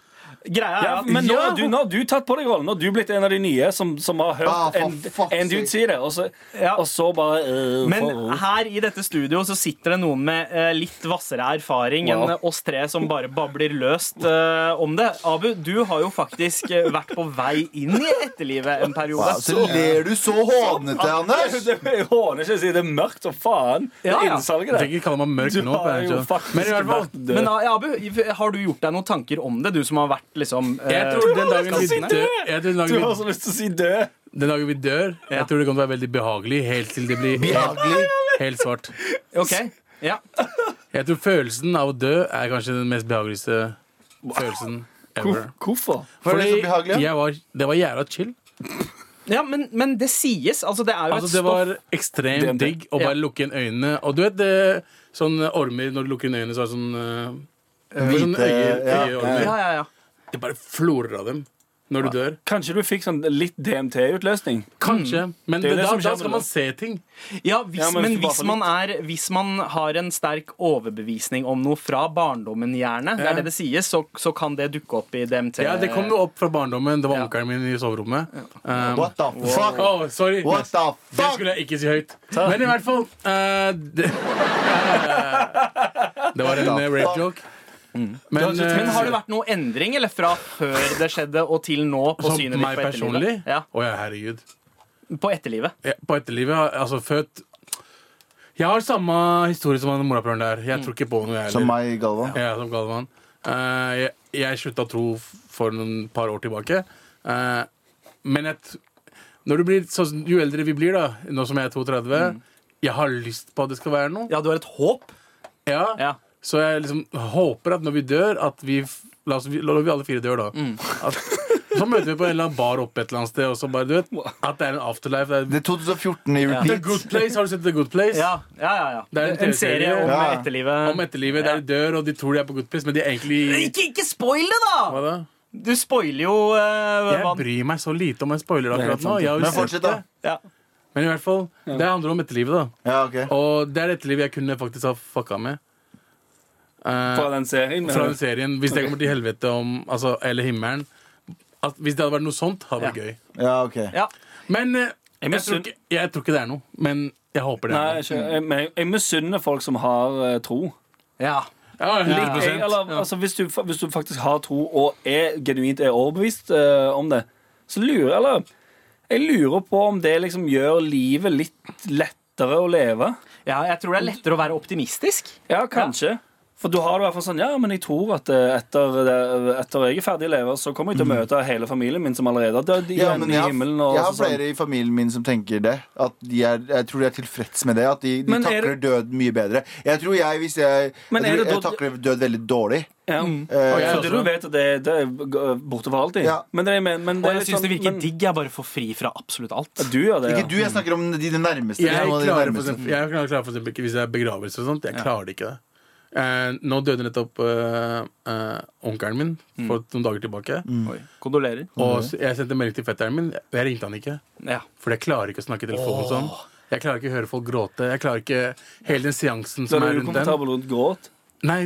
Speaker 2: Greia er
Speaker 4: Ja,
Speaker 2: at
Speaker 4: men nå
Speaker 2: Ja.
Speaker 4: har, du, nå har du tatt på deg rollen. Nå har du blitt en av de nye som, som har hørt
Speaker 3: Ah, for
Speaker 4: en,
Speaker 3: fuck's
Speaker 4: en dude si det. Og så,
Speaker 2: Ja.
Speaker 4: og så bare øh,
Speaker 2: Men
Speaker 4: for-
Speaker 2: her i dette studio så sitter det noen med eh, litt hvassere erfaring
Speaker 4: Wow.
Speaker 2: enn oss tre som bare babler løst eh, om det. Abu, du har jo faktisk eh, vært på vei inn i etterlivet en periode.
Speaker 3: Wow, så Sånn, ler du så hånete, Anders.
Speaker 4: Det jeg håner ikke å si det er mørkt som faen. Det
Speaker 2: Ja,
Speaker 4: er
Speaker 2: ja.
Speaker 4: innsalget
Speaker 5: Jeg
Speaker 4: der.
Speaker 5: tenker ikke kalle meg mørk
Speaker 4: Du
Speaker 5: nå.
Speaker 4: har
Speaker 5: jeg
Speaker 4: jo
Speaker 5: vet ikke.
Speaker 4: faktisk
Speaker 5: Men i hvert fall
Speaker 4: vært død.
Speaker 2: Men eh, Abu, har du gjort deg noen tanker om det, du som har vært liksom eh,
Speaker 5: jeg tror den dagen vi
Speaker 2: skal
Speaker 5: dør,
Speaker 2: sitte-
Speaker 5: jeg tror den
Speaker 4: Du
Speaker 5: dagen
Speaker 4: har
Speaker 5: vi
Speaker 4: så lyst til å si død.
Speaker 5: Den dagen vi dør,
Speaker 2: Ja.
Speaker 5: jeg tror det kommer til å være veldig behagelig helt til det blir helt,
Speaker 3: Behagelig.
Speaker 5: helt svart.
Speaker 2: Ok, ja.
Speaker 5: Jeg tror følelsen av å dø er kanskje den mest behageligste følelsen ever.
Speaker 4: Hvor, hvorfor?
Speaker 3: Var det så behagelig?
Speaker 5: jeg var, det var jævla chill.
Speaker 2: ja men, men det sies. Altså, det er jo
Speaker 5: Altså,
Speaker 2: et
Speaker 5: det
Speaker 2: stoff
Speaker 5: var ekstremt
Speaker 4: DMT.
Speaker 5: digg å bare lukke inn øynene. Og du vet det, sånne ormer når du lukker inn øynene, så er det sånn eh,
Speaker 3: Hvite-
Speaker 5: sånn øye,
Speaker 3: ja.
Speaker 5: øyeormer.
Speaker 2: Ja, ja, ja.
Speaker 5: Det bare florer av dem når du dør.
Speaker 4: Kanskje du fikk sånn litt DMT-utløsning?
Speaker 5: Kanskje. Men
Speaker 4: Det er jo det
Speaker 5: da,
Speaker 4: som skjer
Speaker 5: da
Speaker 4: med
Speaker 5: skal
Speaker 4: det.
Speaker 5: man se ting.
Speaker 2: Ja, hvis,
Speaker 4: Ja, men
Speaker 2: men,
Speaker 4: hvis det
Speaker 2: hvis,
Speaker 4: bare
Speaker 2: man er, hvis man har en sterk overbevisning om noe fra barndommen, gjerne, det
Speaker 5: Ja.
Speaker 2: er det det sies, så, så kan det dukke opp i DMT.
Speaker 5: Ja, Det kom jo opp fra barndommen. Det var
Speaker 2: Ja.
Speaker 5: onkelen min i soverommet. Um,
Speaker 3: What the fuck?
Speaker 5: oh, sorry.
Speaker 3: What the
Speaker 5: Det
Speaker 3: fuck?
Speaker 5: skulle jeg ikke si høyt. Men i hvert fall eh, det, Det var en eh, rape joke. Men,
Speaker 2: Men har det
Speaker 5: eh,
Speaker 2: vært noe endring eller fra før det skjedde og til nå på
Speaker 5: sånn
Speaker 2: synet ditt
Speaker 5: meg
Speaker 2: på
Speaker 5: personlig?
Speaker 2: etterlivet?
Speaker 5: Å ja.
Speaker 2: Ja,
Speaker 5: herregud.
Speaker 2: på etterlivet.
Speaker 5: Jeg, på etterlivet, har- altså født Jeg har samme
Speaker 2: Mm.
Speaker 5: historie som han morapuleren der. Jeg tror ikke på noe, jeg
Speaker 3: Som meg, Galvan.
Speaker 5: Ja, som Galvan. Eh, jeg, jeg slutta å tro for noen par år tilbake. Eh, men jeg, t- når du blir, sånn- jo eldre vi blir, da, nå som jeg er 32 Jeg har lyst på at det skal være noe.
Speaker 2: Mm. Ja, du har et håp?
Speaker 5: Ja.
Speaker 2: Ja.
Speaker 5: Så jeg liksom håper at når vi dør, at vi f- La oss, la vi alle fire dør, da. At, så møter vi på en eller annen bar oppe et eller annet sted, og så bare, du vet, at det er en afterlife. Det
Speaker 3: Det er 2014 i
Speaker 5: er The
Speaker 3: repeat.
Speaker 5: Good Place. Har du sett The Good Place?
Speaker 2: Ja, ja, ja. ja.
Speaker 5: Det er en
Speaker 2: en, serie
Speaker 5: TV-serie.
Speaker 2: om
Speaker 3: Ja.
Speaker 2: etterlivet.
Speaker 5: Om etterlivet der de dør, og de tror de er på Good Place, men de er egentlig
Speaker 2: ikke, ikke spoil det, da!
Speaker 5: Hva da?
Speaker 2: Du spoiler jo eh,
Speaker 5: Jeg
Speaker 2: hva
Speaker 5: bryr meg så lite om en spoiler
Speaker 4: Det er helt
Speaker 5: akkurat nå.
Speaker 4: sant.
Speaker 5: Jeg har jo
Speaker 3: Men
Speaker 5: sett
Speaker 3: fortsett, da.
Speaker 5: det.
Speaker 2: ja.
Speaker 5: Men i hvert fall, det handler om etterlivet, da.
Speaker 3: Ja, ok
Speaker 5: Og det er etterlivet jeg kunne faktisk ha fucka med. Eh,
Speaker 4: Fra den serien.
Speaker 5: fra den serien. Hvis det kommer til helvete om altså, Eller himmelen. At hvis det hadde vært noe sånt, hadde det vært gøy.
Speaker 3: Ja, ok
Speaker 2: ja.
Speaker 5: Men eh, jeg, tror
Speaker 4: misunner-
Speaker 5: ikke, jeg tror ikke det er noe. Men jeg håper det
Speaker 4: Nei,
Speaker 5: er noe.
Speaker 4: ikke, jeg, men jeg- jeg misunner folk som har eh, tro.
Speaker 2: ja.
Speaker 5: Ja,
Speaker 4: Litt, jeg,
Speaker 5: 100%.
Speaker 4: eller, altså, hvis, du, fa- hvis du faktisk har tro og er genuint er overbevist eh, om det, så lurer eller, jeg lurer på om det liksom gjør livet litt lettere å leve.
Speaker 2: Ja, jeg tror det er lettere å være optimistisk.
Speaker 4: Ja, kanskje. For du har det i hvert fall sånn, ja, men jeg tror at eh, etter, det- etter jeg er ferdig å leve, så kommer jeg til å møte hele familien min som allerede har
Speaker 3: ja,
Speaker 4: dødd igjen
Speaker 3: men
Speaker 4: i
Speaker 3: jeg, har,
Speaker 4: himmelen. Og,
Speaker 3: jeg har
Speaker 4: så sånn.
Speaker 3: flere i familien min som tenker det. At de er, jeg tror de er tilfreds med det. At de, de
Speaker 4: Men er
Speaker 3: takler
Speaker 4: det-
Speaker 3: død mye bedre. Jeg tror jeg, hvis jeg,
Speaker 4: Men
Speaker 3: jeg,
Speaker 4: er
Speaker 3: tror,
Speaker 4: det
Speaker 3: jeg
Speaker 4: da-
Speaker 3: takler død veldig dårlig.
Speaker 4: Ja.
Speaker 3: Eh,
Speaker 5: Og jeg
Speaker 4: Så
Speaker 5: også.
Speaker 4: du vet at det, det er borte for alltid.
Speaker 3: Ja.
Speaker 4: Men det, er- men, men
Speaker 2: Og
Speaker 4: det er
Speaker 2: jeg
Speaker 4: litt
Speaker 2: syns
Speaker 4: sånn-
Speaker 2: det virker
Speaker 4: men-
Speaker 2: digg. Jeg bare får fri fra absolutt alt.
Speaker 4: Du gjør det,
Speaker 3: Ikke
Speaker 4: ja.
Speaker 3: du, jeg snakker om de, de nærmeste.
Speaker 5: Jeg
Speaker 3: noen av de
Speaker 5: klarer for
Speaker 3: nærmeste.
Speaker 5: eksempel, jeg klarer klarer for eksempel ikke hvis det er begravelse og sånt. Jeg klarer det ikke. det. Eh, nå døde nettopp eh, eh, onkelen min
Speaker 4: Mm.
Speaker 5: for noen dager tilbake.
Speaker 2: Oi. Kondolerer.
Speaker 5: Og s- jeg sendte melding til fetteren min. Jeg ringte han ikke.
Speaker 2: Ja.
Speaker 5: For jeg klarer ikke å snakke i telefonen sånn. Jeg klarer ikke å høre folk gråte. Jeg klarer ikke hele den seansen
Speaker 4: Så
Speaker 5: som
Speaker 4: er
Speaker 5: er
Speaker 4: du
Speaker 5: rundt den.
Speaker 4: komfortabel rundt gråt?
Speaker 5: Nei,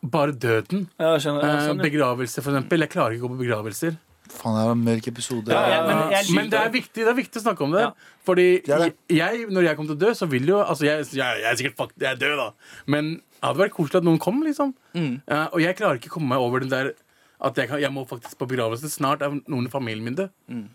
Speaker 5: bare døden.
Speaker 4: Ja, jeg skjønner. Ja,
Speaker 5: Eh,
Speaker 4: sånn, ja.
Speaker 5: Begravelse, for eksempel. Jeg klarer ikke å gå på begravelser.
Speaker 3: Faen, det er en mørk episode.
Speaker 2: Ja, ja, men jeg
Speaker 5: Ah, Men det er viktig, det er viktig å snakke om det. Fordi
Speaker 3: er det.
Speaker 5: jeg, når jeg kommer til å dø, så vil jo Altså, jeg, jeg, jeg er sikkert fuck, jeg er død, da. Men det hadde vært koselig at noen kom, liksom.
Speaker 4: Mm.
Speaker 5: Eh, og jeg klarer ikke å komme meg over den der at jeg, kan, jeg må faktisk på begravelse. Snart er noen i familien min død.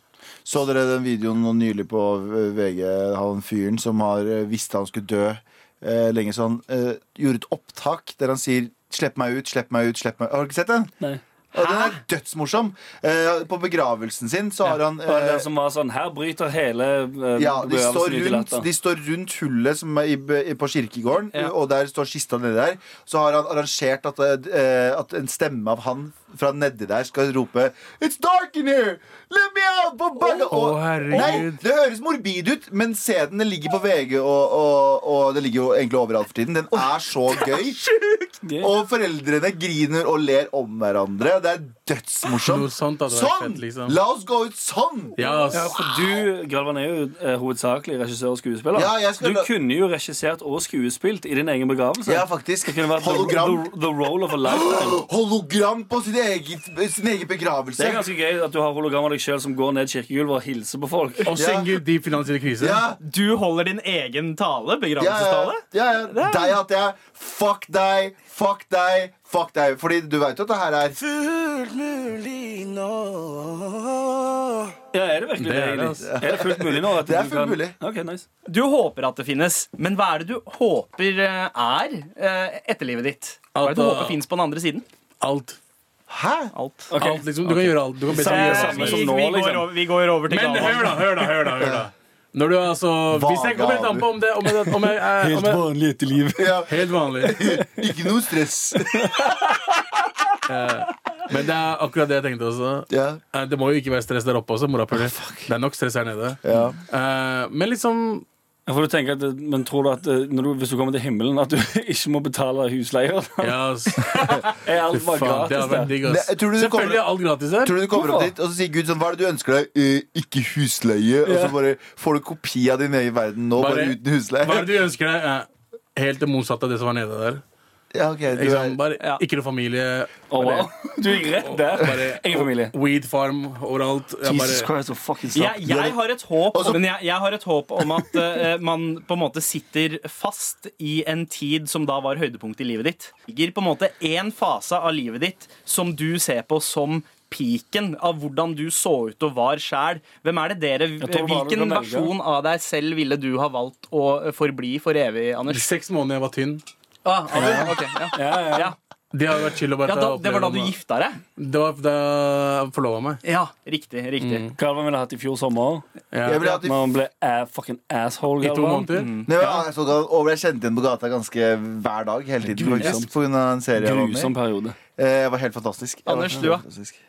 Speaker 3: Så dere den videoen nå nylig på eh, VG? Han fyren som har eh, visste han skulle dø eh, lenge, så han eh, gjorde et opptak der han sier 'slipp meg ut, slipp meg ut', slipp meg ut. Har du ikke sett den?
Speaker 4: Nei.
Speaker 3: Og den er dødsmorsom. Eh, på begravelsen sin så har han
Speaker 4: Og det
Speaker 3: eh,
Speaker 4: som var sånn, Her bryter hele eh,
Speaker 3: ja, de
Speaker 4: begravelsen
Speaker 3: står,
Speaker 4: ut i
Speaker 3: rundt,
Speaker 4: latter.
Speaker 3: de står rundt hullet som er i, i- på kirkegården, og der står kista nedi der. Så har han arrangert at, eh, at en stemme av han fra nedi der skal rope It's dark in here! Let me out! På oh,
Speaker 5: Å, herregud.
Speaker 3: nei, det høres morbid ut, men se den. Den ligger på VG, og, og, og det ligger jo egentlig overalt for tiden. Den er så gøy. Og foreldrene griner og ler om hverandre. Det er dødsmorsomt.
Speaker 5: Noe sånt hadde vært
Speaker 3: Sånn!
Speaker 5: fett, liksom.
Speaker 3: La oss gå ut sånn!
Speaker 5: Ja, ass.
Speaker 4: Ja, for du, Galvan, er jo eh, hovedsakelig regissør og skuespiller.
Speaker 3: Ja, jeg skal
Speaker 4: du
Speaker 3: la-
Speaker 4: kunne jo regissert og skuespilt i din egen begravelse.
Speaker 3: Ja, faktisk.
Speaker 4: Det kunne vært
Speaker 3: Hologram.
Speaker 4: The, the, the role of a lifetime.
Speaker 3: Hologram på sin, eget, sin egen begravelse.
Speaker 4: Det er ganske gøy at du har hologram av deg sjøl som går ned kirkegulvet og hilser på folk.
Speaker 5: Og synger de finansielle kriser.
Speaker 3: ja,
Speaker 2: Du holder din egen
Speaker 3: ja,
Speaker 2: tale?
Speaker 3: ja,
Speaker 2: Begravelsestale?
Speaker 3: ja, ja. Deg hadde jeg. Fuck deg, fuck deg, fuck deg. Fordi du veit jo at det her er
Speaker 4: Ja, Er det virkelig
Speaker 5: Det
Speaker 4: det?
Speaker 5: er det,
Speaker 4: egentlig?
Speaker 5: altså.
Speaker 4: er det fullt mulig nå? At
Speaker 3: Det er
Speaker 4: du
Speaker 3: fullt mulig.
Speaker 4: Ok, nice.
Speaker 2: Du håper at det finnes, men hva er det du håper eh, er eh, etterlivet ditt? Hva er det du
Speaker 5: At,
Speaker 2: håper
Speaker 5: eh,
Speaker 2: fins på den andre siden?
Speaker 5: Alt.
Speaker 3: Hæ?
Speaker 2: Alt.
Speaker 4: Ok.
Speaker 5: Alt liksom. Du kan gjøre alt. Du kan basically
Speaker 4: Samme-
Speaker 5: gjøre alt.
Speaker 4: samme
Speaker 2: Eh,
Speaker 5: som
Speaker 2: vi,
Speaker 5: helst.
Speaker 4: som nå,
Speaker 2: vi, går
Speaker 4: liksom.
Speaker 2: over, vi går over til
Speaker 5: Men
Speaker 2: Galvan.
Speaker 5: hør, da. hør da, hør da, hør da. Når du altså Hvis jeg kommer litt an på om det om jeg, om jeg, om jeg, om jeg
Speaker 4: vanlig etterliv.
Speaker 3: Ja,
Speaker 5: Helt vanlig.
Speaker 3: ikke noe stress.
Speaker 5: Eh, Men det er akkurat det jeg tenkte også.
Speaker 3: Ja.
Speaker 5: Eh, Det må jo ikke være stress der oppe også, morapuler.
Speaker 2: Ah,
Speaker 5: det er nok stress her nede.
Speaker 3: Ja.
Speaker 5: Eh, men liksom
Speaker 4: For du tenker at, men tror du at eh, når du, hvis du kommer til himmelen, at du ikke må betale husleier?
Speaker 5: Ja, ass.
Speaker 4: Er
Speaker 5: Fy
Speaker 4: alt bare
Speaker 5: faen, det har
Speaker 4: gratis
Speaker 5: vært
Speaker 4: der?
Speaker 5: digg,
Speaker 3: Det,
Speaker 5: ass.
Speaker 3: tror du det
Speaker 5: Selvfølgelig
Speaker 3: kommer
Speaker 5: er alt gratis her.
Speaker 3: Tror du du kommer opp
Speaker 4: Hvorfor?
Speaker 3: dit, og så sier Gud sånn Hva er det du ønsker deg? «Eh, ikke husleie. Og så bare får du kopi av din egen verden nå, bare,
Speaker 5: Bare-
Speaker 3: uten husleie.
Speaker 5: Hva er det du ønsker deg? Eh, helt det motsatte av det som var nede der.
Speaker 3: Ja, ok, du er,
Speaker 5: Ikke, sant? bare,
Speaker 2: Ja.
Speaker 5: ikke noe familie.
Speaker 4: Å, wow. Du gikk rett der.
Speaker 5: Bare-
Speaker 4: Ingen familie.
Speaker 5: Weed farm overalt. Jeg
Speaker 4: Jesus
Speaker 5: bare,
Speaker 4: Christ, så fucking slapp.
Speaker 2: Jeg, jeg har et håp
Speaker 3: Altså-
Speaker 2: Men jeg, jeg har et håp om at eh, man på en måte sitter fast i en tid som da var høydepunktet i livet ditt. Ligger på en måte én fase av livet ditt som du ser på som piken av hvordan du så ut og var sjæl. Hvem er det dere
Speaker 4: tror bare du
Speaker 2: Hvilken
Speaker 4: kan velge.
Speaker 2: versjon av deg selv ville du ha valgt å forbli for evig, Anders?
Speaker 5: seks måneder jeg var tynn.
Speaker 2: Ah, Anders, ok, ja.
Speaker 4: Ja, ja, ja.
Speaker 2: Ja.
Speaker 5: Det hadde vært chill å bare
Speaker 2: Ja, da,
Speaker 5: ta og
Speaker 2: det var da du
Speaker 5: oppleve det.
Speaker 2: gifta deg?
Speaker 5: Det var da jeg forlova meg.
Speaker 2: Ja, riktig. riktig
Speaker 4: Galvan ville hatt i fjor sommer.
Speaker 5: Ja.
Speaker 3: Jeg ville hatt
Speaker 4: Men
Speaker 3: i
Speaker 4: han ble a fucking asshole,
Speaker 5: I to
Speaker 4: Galvan.
Speaker 5: måneder.
Speaker 2: mm.
Speaker 3: Nei, men, jeg så gal- og ble kjent igjen på gata ganske hver dag hele tiden.
Speaker 4: Grusomt.
Speaker 3: Faktisk, på grunn av en serie jeg var med
Speaker 4: Grusom
Speaker 3: i.
Speaker 4: periode.
Speaker 3: Eh, Det var helt fantastisk. Jeg
Speaker 2: Anders,
Speaker 3: var
Speaker 2: du, da?
Speaker 3: helt fantastisk.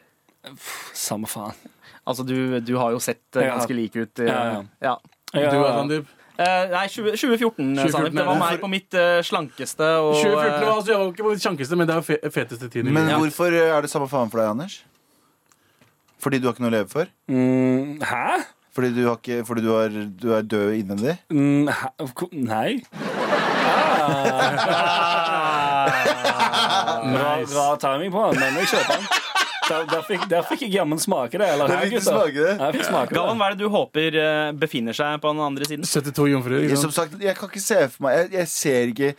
Speaker 4: Samme faen.
Speaker 2: Altså, du, du har jo sett eh,
Speaker 4: Ja.
Speaker 2: ganske lik ut. eh,
Speaker 4: Ja, ja.
Speaker 2: ja.
Speaker 5: Du, sånn
Speaker 4: Ja,
Speaker 5: Sandeep.
Speaker 2: Eh, nei, 20, 2014,
Speaker 5: 2014,
Speaker 2: eh, Sandeep. Det var
Speaker 5: ja.
Speaker 2: meg på mitt eh, slankeste. Og, eh,
Speaker 5: 2014 var altså, jeg var ikke på den sjankeste, men det er jo fe feteste tiden. i
Speaker 3: Men
Speaker 5: livet.
Speaker 3: hvorfor eh, er det samme faen for deg, Anders? Fordi du har ikke noe å leve for?
Speaker 4: Mm, hæ?
Speaker 3: Fordi du, har ikke, fordi du, er, du er død innvendig?
Speaker 4: Mm, hæ? Ko- Nei. Ah. Bra, bra timing på den, men jeg kjøper den. Der, der, fikk, der fikk jeg jammen smake det. Eller
Speaker 3: Der
Speaker 4: her,
Speaker 3: fikk du
Speaker 4: gutter?
Speaker 3: smake det.
Speaker 4: Ja, Jeg fikk smake
Speaker 2: Galvan,
Speaker 4: det.
Speaker 2: hva er det du håper eh, befinner seg på den andre siden?
Speaker 5: 72 jomfruer.
Speaker 3: Jeg,
Speaker 5: ikke
Speaker 3: som
Speaker 5: sant?
Speaker 3: sagt, jeg kan ikke se for meg Jeg, jeg ser ikke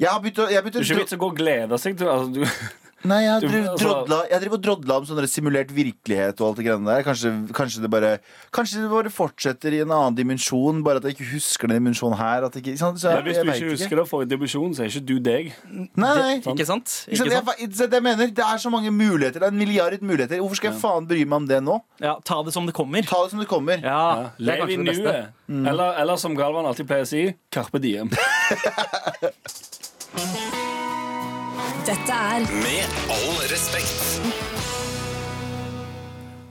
Speaker 3: Jeg har begynt å, jeg har begynt
Speaker 4: Det
Speaker 3: å
Speaker 4: er ikke vits å gå og glede seg til altså, du,
Speaker 3: Nei, jeg, har
Speaker 4: Du-
Speaker 3: drevet
Speaker 4: altså-
Speaker 3: drodla, jeg driver og drodla om sånn der simulert virkelighet og alt det greiene der. Kanskje, kanskje det bare Kanskje det bare fortsetter i en annen dimensjon, bare at jeg ikke husker den dimensjonen her. At jeg ikke, sånn, så jeg,
Speaker 4: Men Hvis
Speaker 3: jeg
Speaker 4: du
Speaker 3: vet
Speaker 4: ikke husker det forrige dimensjon, så er ikke du deg.
Speaker 3: Nei, nei.
Speaker 2: Ikke sant?
Speaker 3: Ikke sant?
Speaker 2: Ikke sant?
Speaker 3: Jeg, det, jeg mener, det er så mange muligheter. Det er en milliard muligheter. Hvorfor skal jeg faen bry meg om det nå?
Speaker 2: Ja, ta det som det kommer.
Speaker 3: Ta det som det kommer.
Speaker 2: Ja, det er
Speaker 4: Lev i
Speaker 2: kanskje det beste.
Speaker 4: nuet. Eller, eller som Galvan alltid pleier å si, carpe diem.
Speaker 6: Dette er
Speaker 7: Med all respekt.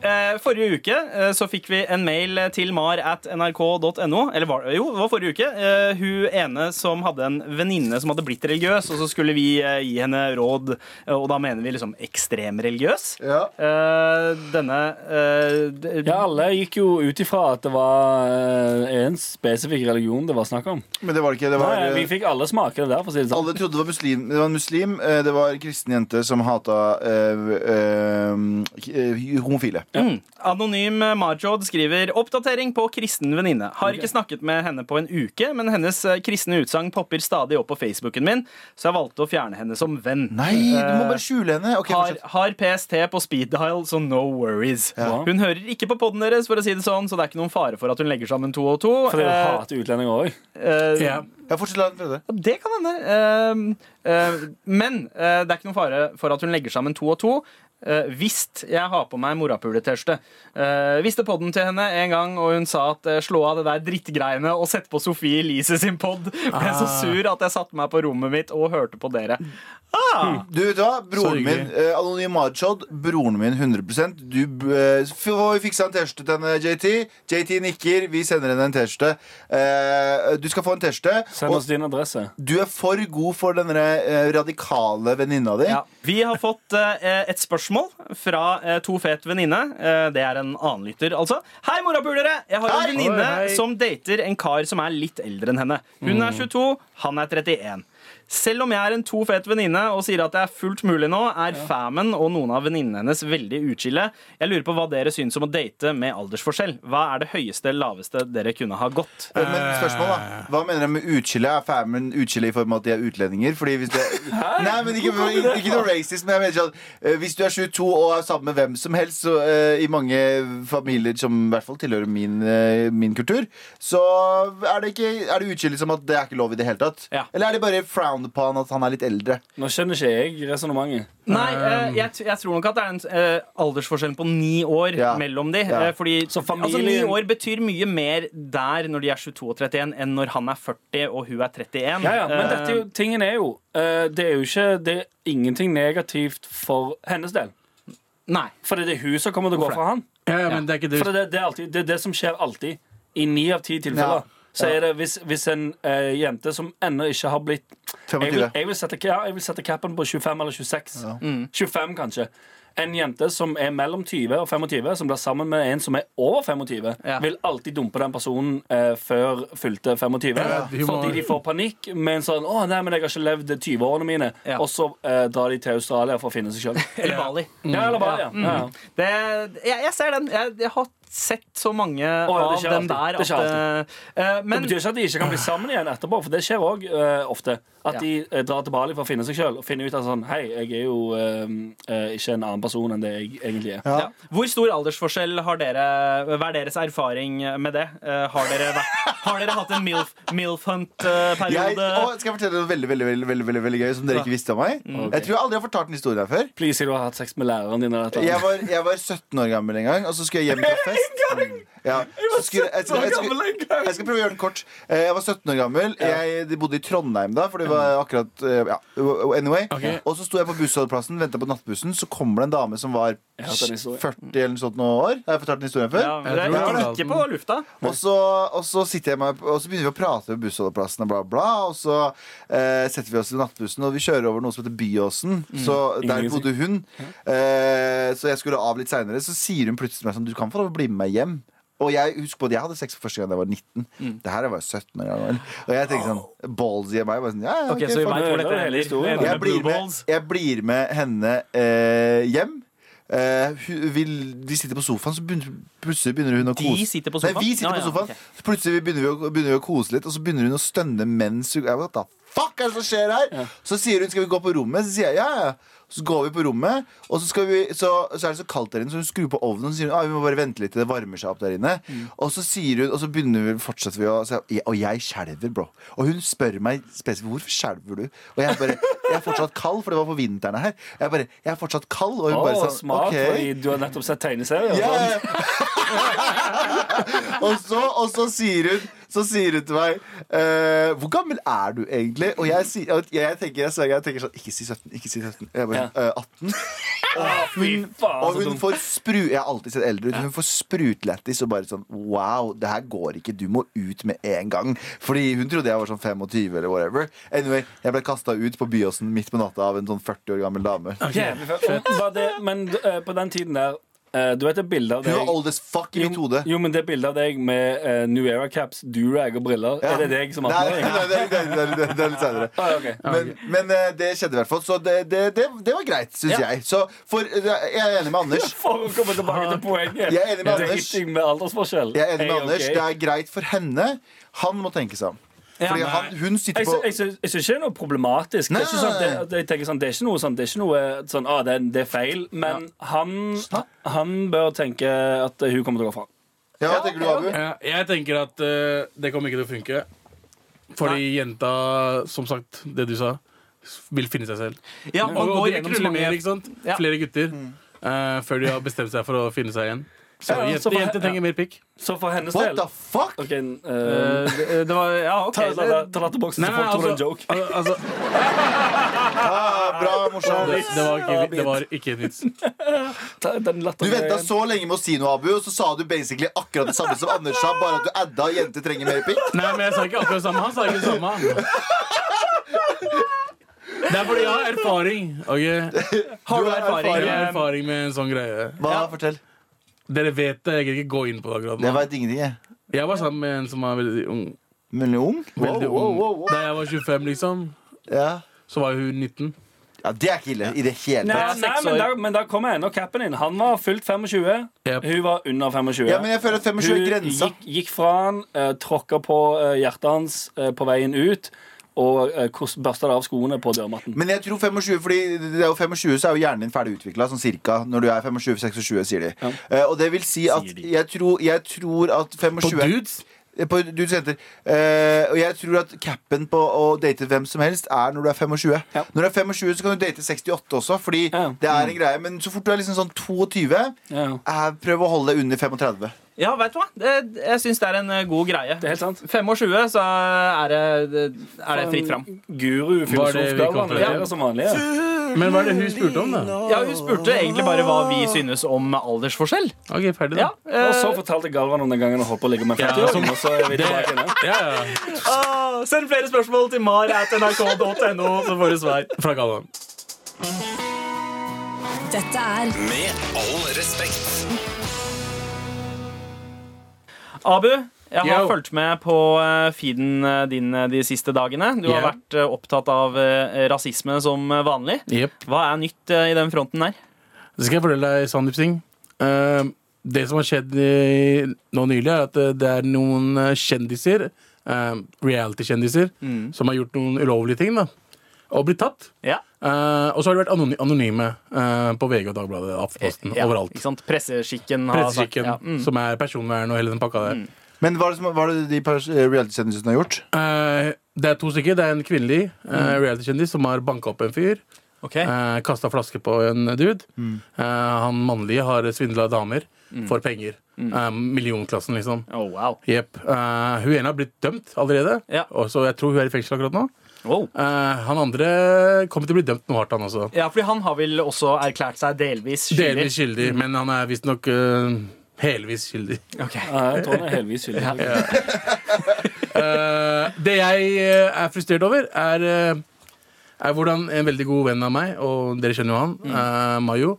Speaker 2: Eh, Forrige uke eh, så fikk vi en mail til mar at nrk.no. Eller var det? Jo, det var forrige uke. Eh, Hun ene som hadde en venninne som hadde blitt religiøs, og så skulle vi eh, gi henne råd, eh, og da mener vi liksom ekstremreligiøs.
Speaker 3: Ja.
Speaker 2: Eh, Denne eh, d-
Speaker 4: Ja, alle gikk jo ut ifra at det var eh, en spesifikk religion det var snakk om.
Speaker 3: Men det var det ikke. Det var,
Speaker 4: Nei, vi
Speaker 3: eh,
Speaker 4: fikk alle smake det der, for å si det sånn.
Speaker 3: alle trodde det var muslim. Det var en muslim. eh, Det var en kristen jente som hata eh, eh, homofile.
Speaker 2: Mm. Anonym Marjod skriver Oppdatering på kristen venninne. Har ikke snakket med henne på en uke, men hennes eh, kristne utsagn popper stadig opp på Facebooken min, så jeg valgte å fjerne henne som venn. Eh,
Speaker 3: Nei, du
Speaker 4: Eh,
Speaker 3: må bare skjule henne. Ok,
Speaker 2: Har,
Speaker 3: fortsett.
Speaker 2: har PST på speed dial, så no worries.
Speaker 4: Ja.
Speaker 2: Hun hører ikke på poden deres, for å si det sånn, så det er ikke noen fare for at hun legger sammen to og to.
Speaker 4: For det er
Speaker 2: Eh,
Speaker 4: jo hat til utlendinger òg.
Speaker 2: eh,
Speaker 5: Ja.
Speaker 3: Ja, fortsett, la den prøve.
Speaker 2: ja, Det kan hende. Eh, eh, men eh, det er ikke noen fare for at hun legger sammen to og to. Eh, Hvis jeg har på meg morapule-T-skjorte. Eh, Viste podden til henne en gang, og hun sa at eh, slå av det der drittgreiene og sett på Sofie Elise sin pod. Ble så sur at jeg satte meg på rommet mitt og hørte på dere.
Speaker 3: Du vet du hva,
Speaker 5: Så
Speaker 3: broren min,
Speaker 5: hyggelig.
Speaker 3: eh, Anonym Marjod, broren min 100 Du eh, får fiksa en T-skjorte til henne, JT. JT nikker, vi sender henne en T-skjorte. Eh, du skal få en T-skjorte.
Speaker 4: Send
Speaker 3: Og
Speaker 4: oss din adresse.
Speaker 3: du er for god for den eh, radikale venninna di.
Speaker 2: Ja. Vi har fått eh, et spørsmål fra eh, to fet venninne. Eh, det er en annen lytter, altså. Hei, morapulere! Jeg har en
Speaker 3: Hei!
Speaker 2: venninne
Speaker 5: Oi, hei. Mm.
Speaker 2: som dater en kar som er litt eldre enn henne. Hun er 22, han er 31. Selv om jeg er en to fet venninne og sier at det er fullt mulig nå, er famen og noen av venninnene hennes veldig utskille. Jeg lurer på hva dere syns om å date med aldersforskjell. Hva er det høyeste, laveste dere kunne ha gått?
Speaker 3: Eh, Men spørsmål, da. Hva mener du med utskille? Er famen utskille i form av at de er utlendinger? Fordi hvis det Nei, men ikke, ikke, ikke noe racist, men jeg mener sånn eh, Hvis du er 22 og er sammen med hvem som helst, så eh, i mange familier som i hvert fall tilhører min, eh, min kultur, så er det, ikke, er det utskille som at det er ikke lov i det hele tatt?
Speaker 2: Ja.
Speaker 3: Eller er det bare frowned upon at han er litt eldre?
Speaker 4: Nå skjønner ikke jeg resonnementet.
Speaker 2: Nei, eh,
Speaker 4: Ehm.
Speaker 2: jeg, t- jeg tror nok at det er en eh, aldersforskjell på ni år
Speaker 3: Ja.
Speaker 2: mellom de.
Speaker 3: Ja.
Speaker 2: eh, fordi
Speaker 4: Så familien-
Speaker 2: altså, ni år betyr mye mer der når de er 22 og 31, enn når han er 40 og hun er 31.
Speaker 4: Ja, ja, men dette, er
Speaker 2: Eh,
Speaker 4: jo- tingen er jo eh, Det er jo ikke Det er ingenting negativt for hennes del.
Speaker 2: Nei.
Speaker 4: For det er hun som kommer til å gå fra han.
Speaker 5: Ja, ja, men det er ikke
Speaker 4: For
Speaker 5: det.
Speaker 4: det, er- det, er alltid, det er det som skjer alltid. I ni av ti tilfeller. Så er det hvis, hvis en eh, jente som ennå ikke har blitt jeg
Speaker 3: 25.
Speaker 4: vil, jeg, vil sette, ja, jeg vil sette capen på 25 eller 26.
Speaker 2: Mm.
Speaker 4: 25, kanskje. En jente som er mellom 20 og 25, som blir sammen med en som er over 25,
Speaker 2: Ja.
Speaker 4: vil alltid dumpe den personnen eh, før fylte 25.
Speaker 5: Ja, de må-
Speaker 4: Fordi de får panikk med en sånn 'Å, nei, men jeg har ikke levd 20-årene mine',
Speaker 2: Ja.
Speaker 4: og så eh, drar de til Australia for å finne seg sjøl.
Speaker 2: Eller Bali.
Speaker 4: Ja, eller bare, ja. ja.
Speaker 2: Det, jeg, jeg ser den. Jeg, jeg har sett så mange
Speaker 4: ja,
Speaker 2: av
Speaker 4: det skjer
Speaker 2: den
Speaker 4: alltid.
Speaker 2: der
Speaker 4: Det skjer
Speaker 2: eh, eh,
Speaker 4: Det
Speaker 2: men
Speaker 4: betyr ikke at de ikke kan bli sammen igjen etterpå, for det skjer òg ofte. At
Speaker 2: Ja.
Speaker 4: de eh, drar til Bali for å finne seg sjøl og finne ut at sånn Hei, jeg er jo eh, eh, ikke en annen person enn det jeg egentlig er.
Speaker 2: ja. Hvor stor aldersforskjell har dere Hva er deres erfaring med det? Eh, har, dere vært, har dere hatt en milf, eh, milf
Speaker 3: Jeg,
Speaker 2: hunt-periode?
Speaker 3: å, skal jeg fortelle noe veldig veldig, veldig, veldig, veldig, veldig gøy som dere ikke visste om meg?
Speaker 2: Mm.
Speaker 3: Jeg tror jeg aldri har fortalt den historien her før.
Speaker 4: Please, sier du har hatt sex med læreren din. Eller et eller
Speaker 3: Jeg
Speaker 4: annet.
Speaker 3: var, jeg var 17 år gammel en gang, og så skulle jeg hjem fra fest. Mm. Ja. så skulle- Jeg skal- jeg skal- jeg skal prøve å gjøre den kort. Eh, Jeg var 17 år gammel. Jeg de bodde i Trondheim da, for det var akkurat eh, ja, Anyway.
Speaker 5: Ok.
Speaker 3: Og så sto jeg på bussholdeplassen, venta på nattbussen, så kommer det en dame som var
Speaker 4: Jeg har hørt den historien.
Speaker 3: 40 eller noe sånt nå år. Har jeg fortalt den historien før?
Speaker 2: Ja, men det
Speaker 5: Jeg tror
Speaker 2: er
Speaker 5: det.
Speaker 2: ikke på lufta.
Speaker 3: Og så, og så sitter jeg meg, og så begynner vi å prate ved bussholdeplassen og bla, bla. Og så eh, setter vi oss i nattbussen, og vi kjører over noe som heter Byåsen.
Speaker 2: Mm.
Speaker 3: Så der
Speaker 4: Ingen
Speaker 3: bodde hun. Eh, så jeg skulle av litt seinere. Så sier hun plutselig til meg sånn Du kan få lov å bli med meg hjem. Og jeg husk på at jeg hadde sex for første gang da jeg var 19.
Speaker 2: Mm.
Speaker 3: Det her var jeg 17 år gammel. Og jeg tenker sånn Ballsy av meg. Bare sånn, ja, ja,
Speaker 2: Ok,
Speaker 3: ok,
Speaker 2: så vi
Speaker 3: fuck
Speaker 2: vet hvor
Speaker 4: Det
Speaker 2: dette
Speaker 4: er hele
Speaker 2: ender.
Speaker 4: historien,
Speaker 2: Det
Speaker 4: da.
Speaker 2: ender
Speaker 3: jeg
Speaker 2: med
Speaker 3: blir
Speaker 2: blue
Speaker 3: med,
Speaker 2: balls.
Speaker 3: jeg blir med henne eh, hjem. Eh, hu- vi, de sitter på sofaen, så begynner, plutselig begynner hun å
Speaker 2: De
Speaker 3: kose
Speaker 2: sitter på sofaen?
Speaker 3: Nei, vi sitter
Speaker 2: Ja, ja,
Speaker 3: på sofaen.
Speaker 2: ok.
Speaker 3: Så plutselig begynner vi, å, begynner vi å kose litt, og så begynner hun å stønne mens hun jeg, What the fuck er det som skjer her? Så sier hun 'skal vi gå på rommet'? Så sier jeg ja, ja. Så går vi på rommet, og så, skal vi, så, så er det så kaldt der inne, så hun skrur på ovnen og sier hun, ah, vi må bare vente litt til det varmer seg opp der inne.
Speaker 4: Mm.
Speaker 3: Og så sier hun, og så begynner vi, fortsetter vi å så jeg- Og jeg skjelver, bro. Og hun spør meg spesifikt hvorfor skjelver du? Og jeg bare Jeg er fortsatt kald, for det var på vinteren her. Jeg bare, jeg er fortsatt kald. Og hun
Speaker 4: Å,
Speaker 3: bare sånn
Speaker 4: smart,
Speaker 3: «Ok».
Speaker 4: fordi du har nettopp sett tegneserier.
Speaker 3: Ja,
Speaker 4: sånn.
Speaker 3: ja, ja. og, så, og så sier hun Så sier hun til meg eh, Hvor gammel er du egentlig? Og jeg, sier, og jeg tenker, jeg, sverger, jeg tenker sånn Ikke si 17, ikke si 17 Jeg bare,
Speaker 4: Ja.
Speaker 3: «Eh, 18 og hun,
Speaker 4: faen,
Speaker 3: og
Speaker 4: så
Speaker 3: hun
Speaker 4: dumt.
Speaker 3: får spru Jeg har alltid sett eldre ut Hun får sprutlettis og bare sånn Wow, det her går ikke Du må ut med en gang Fordi hun trodde jeg var sånn 25 eller whatever Anyway, jeg ble kastet ut på byåsen midt på natta Av en sånn 40 år gammel dame Hun
Speaker 4: Jævlig fett. Og var det- Men eh, på den tiden der eh, Du vet det bildet av
Speaker 3: var
Speaker 4: deg
Speaker 3: old as fuck i mitt
Speaker 4: jo,
Speaker 3: hode
Speaker 4: jo, men det bildet av deg med eh, New Era caps, durag og briller,
Speaker 3: Ja.
Speaker 4: er det deg som
Speaker 3: Nei,
Speaker 4: har
Speaker 3: nei, nei, det er- det er- det er- det er litt senere
Speaker 4: Ah, ok.
Speaker 3: Men, men eh, det skjedde i hvert fall, så det, det, det, det var greit, syns
Speaker 4: Ja.
Speaker 3: jeg. Så for, eh, jeg er enig med Anders.
Speaker 4: For å komme tilbake til poenget.
Speaker 3: Jeg er enig med Anders.
Speaker 4: Dating med aldersforskjell.
Speaker 3: Jeg er enig med
Speaker 4: Er ok.
Speaker 3: Anders Det er greit for henne. Han må tenke seg om. Fordi han, hun sitter
Speaker 4: Jeg
Speaker 3: på
Speaker 4: sy- jeg syns jeg syns ikke det er noe problematisk. Det er ikke,
Speaker 3: Nei.
Speaker 4: sånn, at det, at jeg tenker sånn, det er ikke noe sånn, det er, ikke noe, sånn ah, det, er- det er feil. Men han, han bør tenke at hun kommer til å gå fra.
Speaker 3: Ja, hva tenker du, Abu?
Speaker 5: Ja, Jeg tenker at eh, det kommer ikke til å funke. Fordi jenta, som sagt, det du sa, s- vil finne seg selv.
Speaker 2: Ja,
Speaker 5: Og,
Speaker 2: man
Speaker 5: og
Speaker 2: går
Speaker 5: de
Speaker 2: gjennom så
Speaker 5: knuller
Speaker 2: mange- liksom.
Speaker 5: mer, ikke sant?
Speaker 2: Ja.
Speaker 5: Flere gutter.
Speaker 4: Mm.
Speaker 5: eh, før de har bestemt seg for å finne seg igjen. Så
Speaker 4: Ja, ja, så for-
Speaker 5: jenter, jenter trenger mer pikk.
Speaker 4: Så for hennes
Speaker 3: What
Speaker 4: del
Speaker 3: the fuck?
Speaker 4: Ok, en, eh,
Speaker 2: Eh, det- det var, ja, ok
Speaker 4: Ta ta- ta- ta latterboksen,
Speaker 5: Nei,
Speaker 4: så
Speaker 5: nei,
Speaker 4: folk tror det er en
Speaker 5: altså-
Speaker 4: joke.
Speaker 5: al- altså,
Speaker 3: Ah, bra, morsomt.
Speaker 5: det, det, var ikke, det var ikke en vits.
Speaker 4: Ta den
Speaker 3: Du venta
Speaker 4: lattergreien.
Speaker 3: så lenge med å si noe, Abu, og så sa du basically akkurat det samme som Anders sa, bare at du adda 'jenter trenger mer pikk'.
Speaker 5: Nei, men jeg sa ikke akkurat det samme. Han sa ikke det samme. han. Det er fordi jeg har erfaring. ok?
Speaker 2: Har du
Speaker 3: Du har
Speaker 5: Jeg
Speaker 2: erfaring?
Speaker 5: har
Speaker 2: eh,
Speaker 5: erfaring med en sånn greie.
Speaker 3: Hva? Fortell.
Speaker 5: Dere vet det. Jeg gidder ikke gå inn på det akkurat
Speaker 3: Jeg
Speaker 5: nå.
Speaker 3: veit ingenting, jeg.
Speaker 5: Jeg var sammen med en som var veldig ung.
Speaker 3: Veldig ung?
Speaker 5: Veldig
Speaker 3: Wow,
Speaker 5: ung.
Speaker 3: wow, wow, wow.
Speaker 5: Da jeg var 25, liksom,
Speaker 3: Ja.
Speaker 5: så var hun 19.
Speaker 3: ja, det er ikke ille i det hele
Speaker 4: Nei,
Speaker 3: tatt.
Speaker 4: nei, men der, men der kommer ennå capen inn. Han var fylt 25.
Speaker 5: Yep.
Speaker 4: Hun var under 25.
Speaker 3: Ja, men jeg føler at 25 er
Speaker 4: Hun
Speaker 3: grensa.
Speaker 4: gikk, gikk fra han, uh, tråkka på eh, hjertet hans eh, på veien ut, og uh, børsta det av skoene på dørmatten.
Speaker 3: Men jeg tror 25, fordi det er jo 25 så er jo hjernen din ferdig utvikla, sånn cirka. Når du er 25-26, sier de. Eh, og det vil si at jeg tror, jeg tror at 25
Speaker 5: På dudes?
Speaker 3: Eh, På dudes jenter. Eh, og jeg tror at capen på å date hvem som helst er når du er 25.
Speaker 4: Ja.
Speaker 3: Når du er 25, så kan du date 68 også, fordi
Speaker 4: Ja. Mm.
Speaker 3: det er en greie. Men så fort du er liksom sånn 22,
Speaker 4: Ja, ja.
Speaker 3: eh, prøv å holde deg under 35.
Speaker 2: Ja, vet du hva? Det, jeg syns det er en eh, god greie.
Speaker 4: Det er helt sant.
Speaker 2: 25, så er det, det- er det fritt fram.
Speaker 4: Guru,
Speaker 5: Var det vi kom til?
Speaker 4: filosof, ja. som vanlig. Ja.
Speaker 5: Men hva er det hun spurte om, da?
Speaker 2: Ja, Hun spurte egentlig bare hva vi synes om aldersforskjell.
Speaker 5: Ok, ferdig, da.
Speaker 2: Ja, eh,
Speaker 4: Og så fortalte Galvan om den gangen han holdt på å ligge med en
Speaker 5: Ja,
Speaker 4: 40-åring.
Speaker 5: som-
Speaker 4: og så er vi tilbake igjen, ja.
Speaker 5: Ja, ja.
Speaker 2: ah, Send flere spørsmål til mar.nrk.no, så får du svar.
Speaker 5: Fra Galvan.
Speaker 6: Dette er
Speaker 7: Med all respekt.
Speaker 2: Abu, jeg har
Speaker 5: Yo.
Speaker 2: fulgt med på eh, feeden eh, din eh, de siste dagene. Du har
Speaker 5: Yeah.
Speaker 2: vært eh, opptatt av eh, rasisme som eh, vanlig.
Speaker 5: Yep.
Speaker 2: Hva er nytt eh, i den fronten her?
Speaker 5: sånn Så skal jeg fortelle deg, Sandeep Singh. Eh, det som har skjedd i, nå nylig, er at eh, det er noen eh, kjendiser, eh, reality-kjendiser,
Speaker 2: Mm.
Speaker 5: som har gjort noen ulovlige ting, da. Og blitt tatt.
Speaker 2: Ja.
Speaker 5: Eh, og så har de vært anony anonyme eh, på VG og Dagbladet, Aftenposten,
Speaker 2: Ja,
Speaker 5: overalt.
Speaker 2: Ikke sant? Presseskikken. har sagt-
Speaker 5: Presseskikken,
Speaker 2: ja, mm.
Speaker 5: som er personvern og hele den pakka der.
Speaker 3: Men hva er det, som, hva er det de pers- reality-sendelsene har gjort?
Speaker 5: Eh, det er to stykker. Det er en kvinnelig eh,
Speaker 2: Mm.
Speaker 5: reality-kjendis som har banka opp en fyr.
Speaker 2: Ok.
Speaker 5: Eh, Kasta flaske på en dude.
Speaker 2: Mm.
Speaker 5: Eh, han mannlige har svindla damer for penger.
Speaker 2: Mm.
Speaker 5: Eh, millionklassen, liksom.
Speaker 2: Oh, wow.
Speaker 5: Jepp. Eh, hun ene har blitt dømt allerede,
Speaker 2: Ja.
Speaker 5: og så jeg tror hun er i fengsel akkurat nå.
Speaker 2: wow.
Speaker 5: Eh, han andre kommer til å bli dømt noe hardt, han også.
Speaker 2: Ja, fordi han har vel også erklært seg delvis skyldig. Mm.
Speaker 5: Delvis skyldig, men han er visstnok uh, helvis skyldig.
Speaker 2: Ok.
Speaker 4: Ja, jeg tror han er helvis skyldig.
Speaker 5: Eh, det jeg eh, er frustrert over, er, eh, er hvordan en veldig god venn av meg, og dere kjenner jo han,
Speaker 2: Mm.
Speaker 5: eh, Mayo